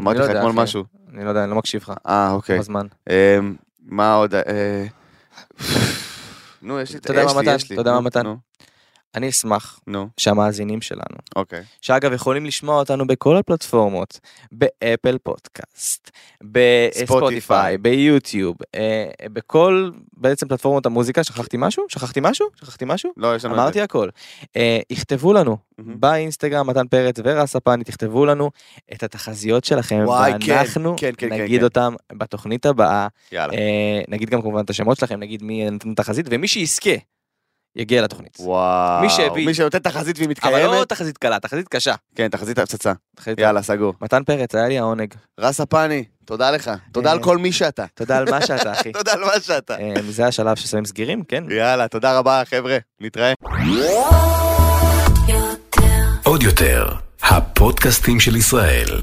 Speaker 2: אמרתי
Speaker 3: לא
Speaker 2: לך
Speaker 3: יודע,
Speaker 2: אתמול
Speaker 3: אחי.
Speaker 2: משהו.
Speaker 3: אני לא יודע, אני לא מקשיב לך.
Speaker 2: אה, אוקיי.
Speaker 3: בזמן.
Speaker 2: אה, מה עוד? אה, נו, יש לי,
Speaker 3: אתה יודע
Speaker 2: יש
Speaker 3: מה,
Speaker 2: לי,
Speaker 3: מתן?
Speaker 2: יש לי.
Speaker 3: אתה יודע מה,
Speaker 2: נו,
Speaker 3: מתן?
Speaker 2: נו,
Speaker 3: אני אשמח
Speaker 2: נו,
Speaker 3: שהמאזינים שלנו,
Speaker 2: אוקיי.
Speaker 3: שאגב יכולים לשמוע אותנו בכל הפלטפורמות, באפל פודקאסט, בספוטיפיי,
Speaker 2: ספוטיפיי.
Speaker 3: ביוטיוב, אה, בכל בעצם פלטפורמות המוזיקה, שכחתי משהו? שכחתי משהו? שכחתי משהו?
Speaker 2: לא, יש לנו... את
Speaker 3: אמרתי
Speaker 2: זה.
Speaker 3: הכל. אה, יכתבו לנו
Speaker 2: מהמם.
Speaker 3: באינסטגרם מתן פרץ ורס הפני, תכתבו לנו את התחזיות שלכם,
Speaker 2: וואי, כן,
Speaker 3: ואנחנו
Speaker 2: כן, כן, כן,
Speaker 3: נגיד
Speaker 2: כן.
Speaker 3: אותם בתוכנית הבאה.
Speaker 2: יאללה.
Speaker 3: אה, נגיד גם כמובן את השמות שלכם, נגיד מי נתן תחזית, ומי שיזכה יגיע לתוכנית.
Speaker 2: וואו.
Speaker 3: מי שהביא.
Speaker 2: מי שנותן תחזית והיא
Speaker 3: אבל לא אה,
Speaker 2: מתקיימת.
Speaker 3: תחזית קלה, תחזית קשה.
Speaker 2: כן, תחזית הפצצה.
Speaker 3: תחזית-
Speaker 2: יאללה, סגור.
Speaker 3: מתן פרץ, היה לי העונג.
Speaker 2: רס הפני, תודה לך. תודה
Speaker 3: אה.
Speaker 2: על כל מי שאתה.
Speaker 3: תודה על מה שאתה, אחי.
Speaker 2: תודה על מה שאתה.
Speaker 3: אה, זה השלב ששמים סגירים, כן?
Speaker 2: יאללה, תודה רבה, חבר'ה. נתראה.
Speaker 1: עוד יותר, הפודקאסטים של ישראל.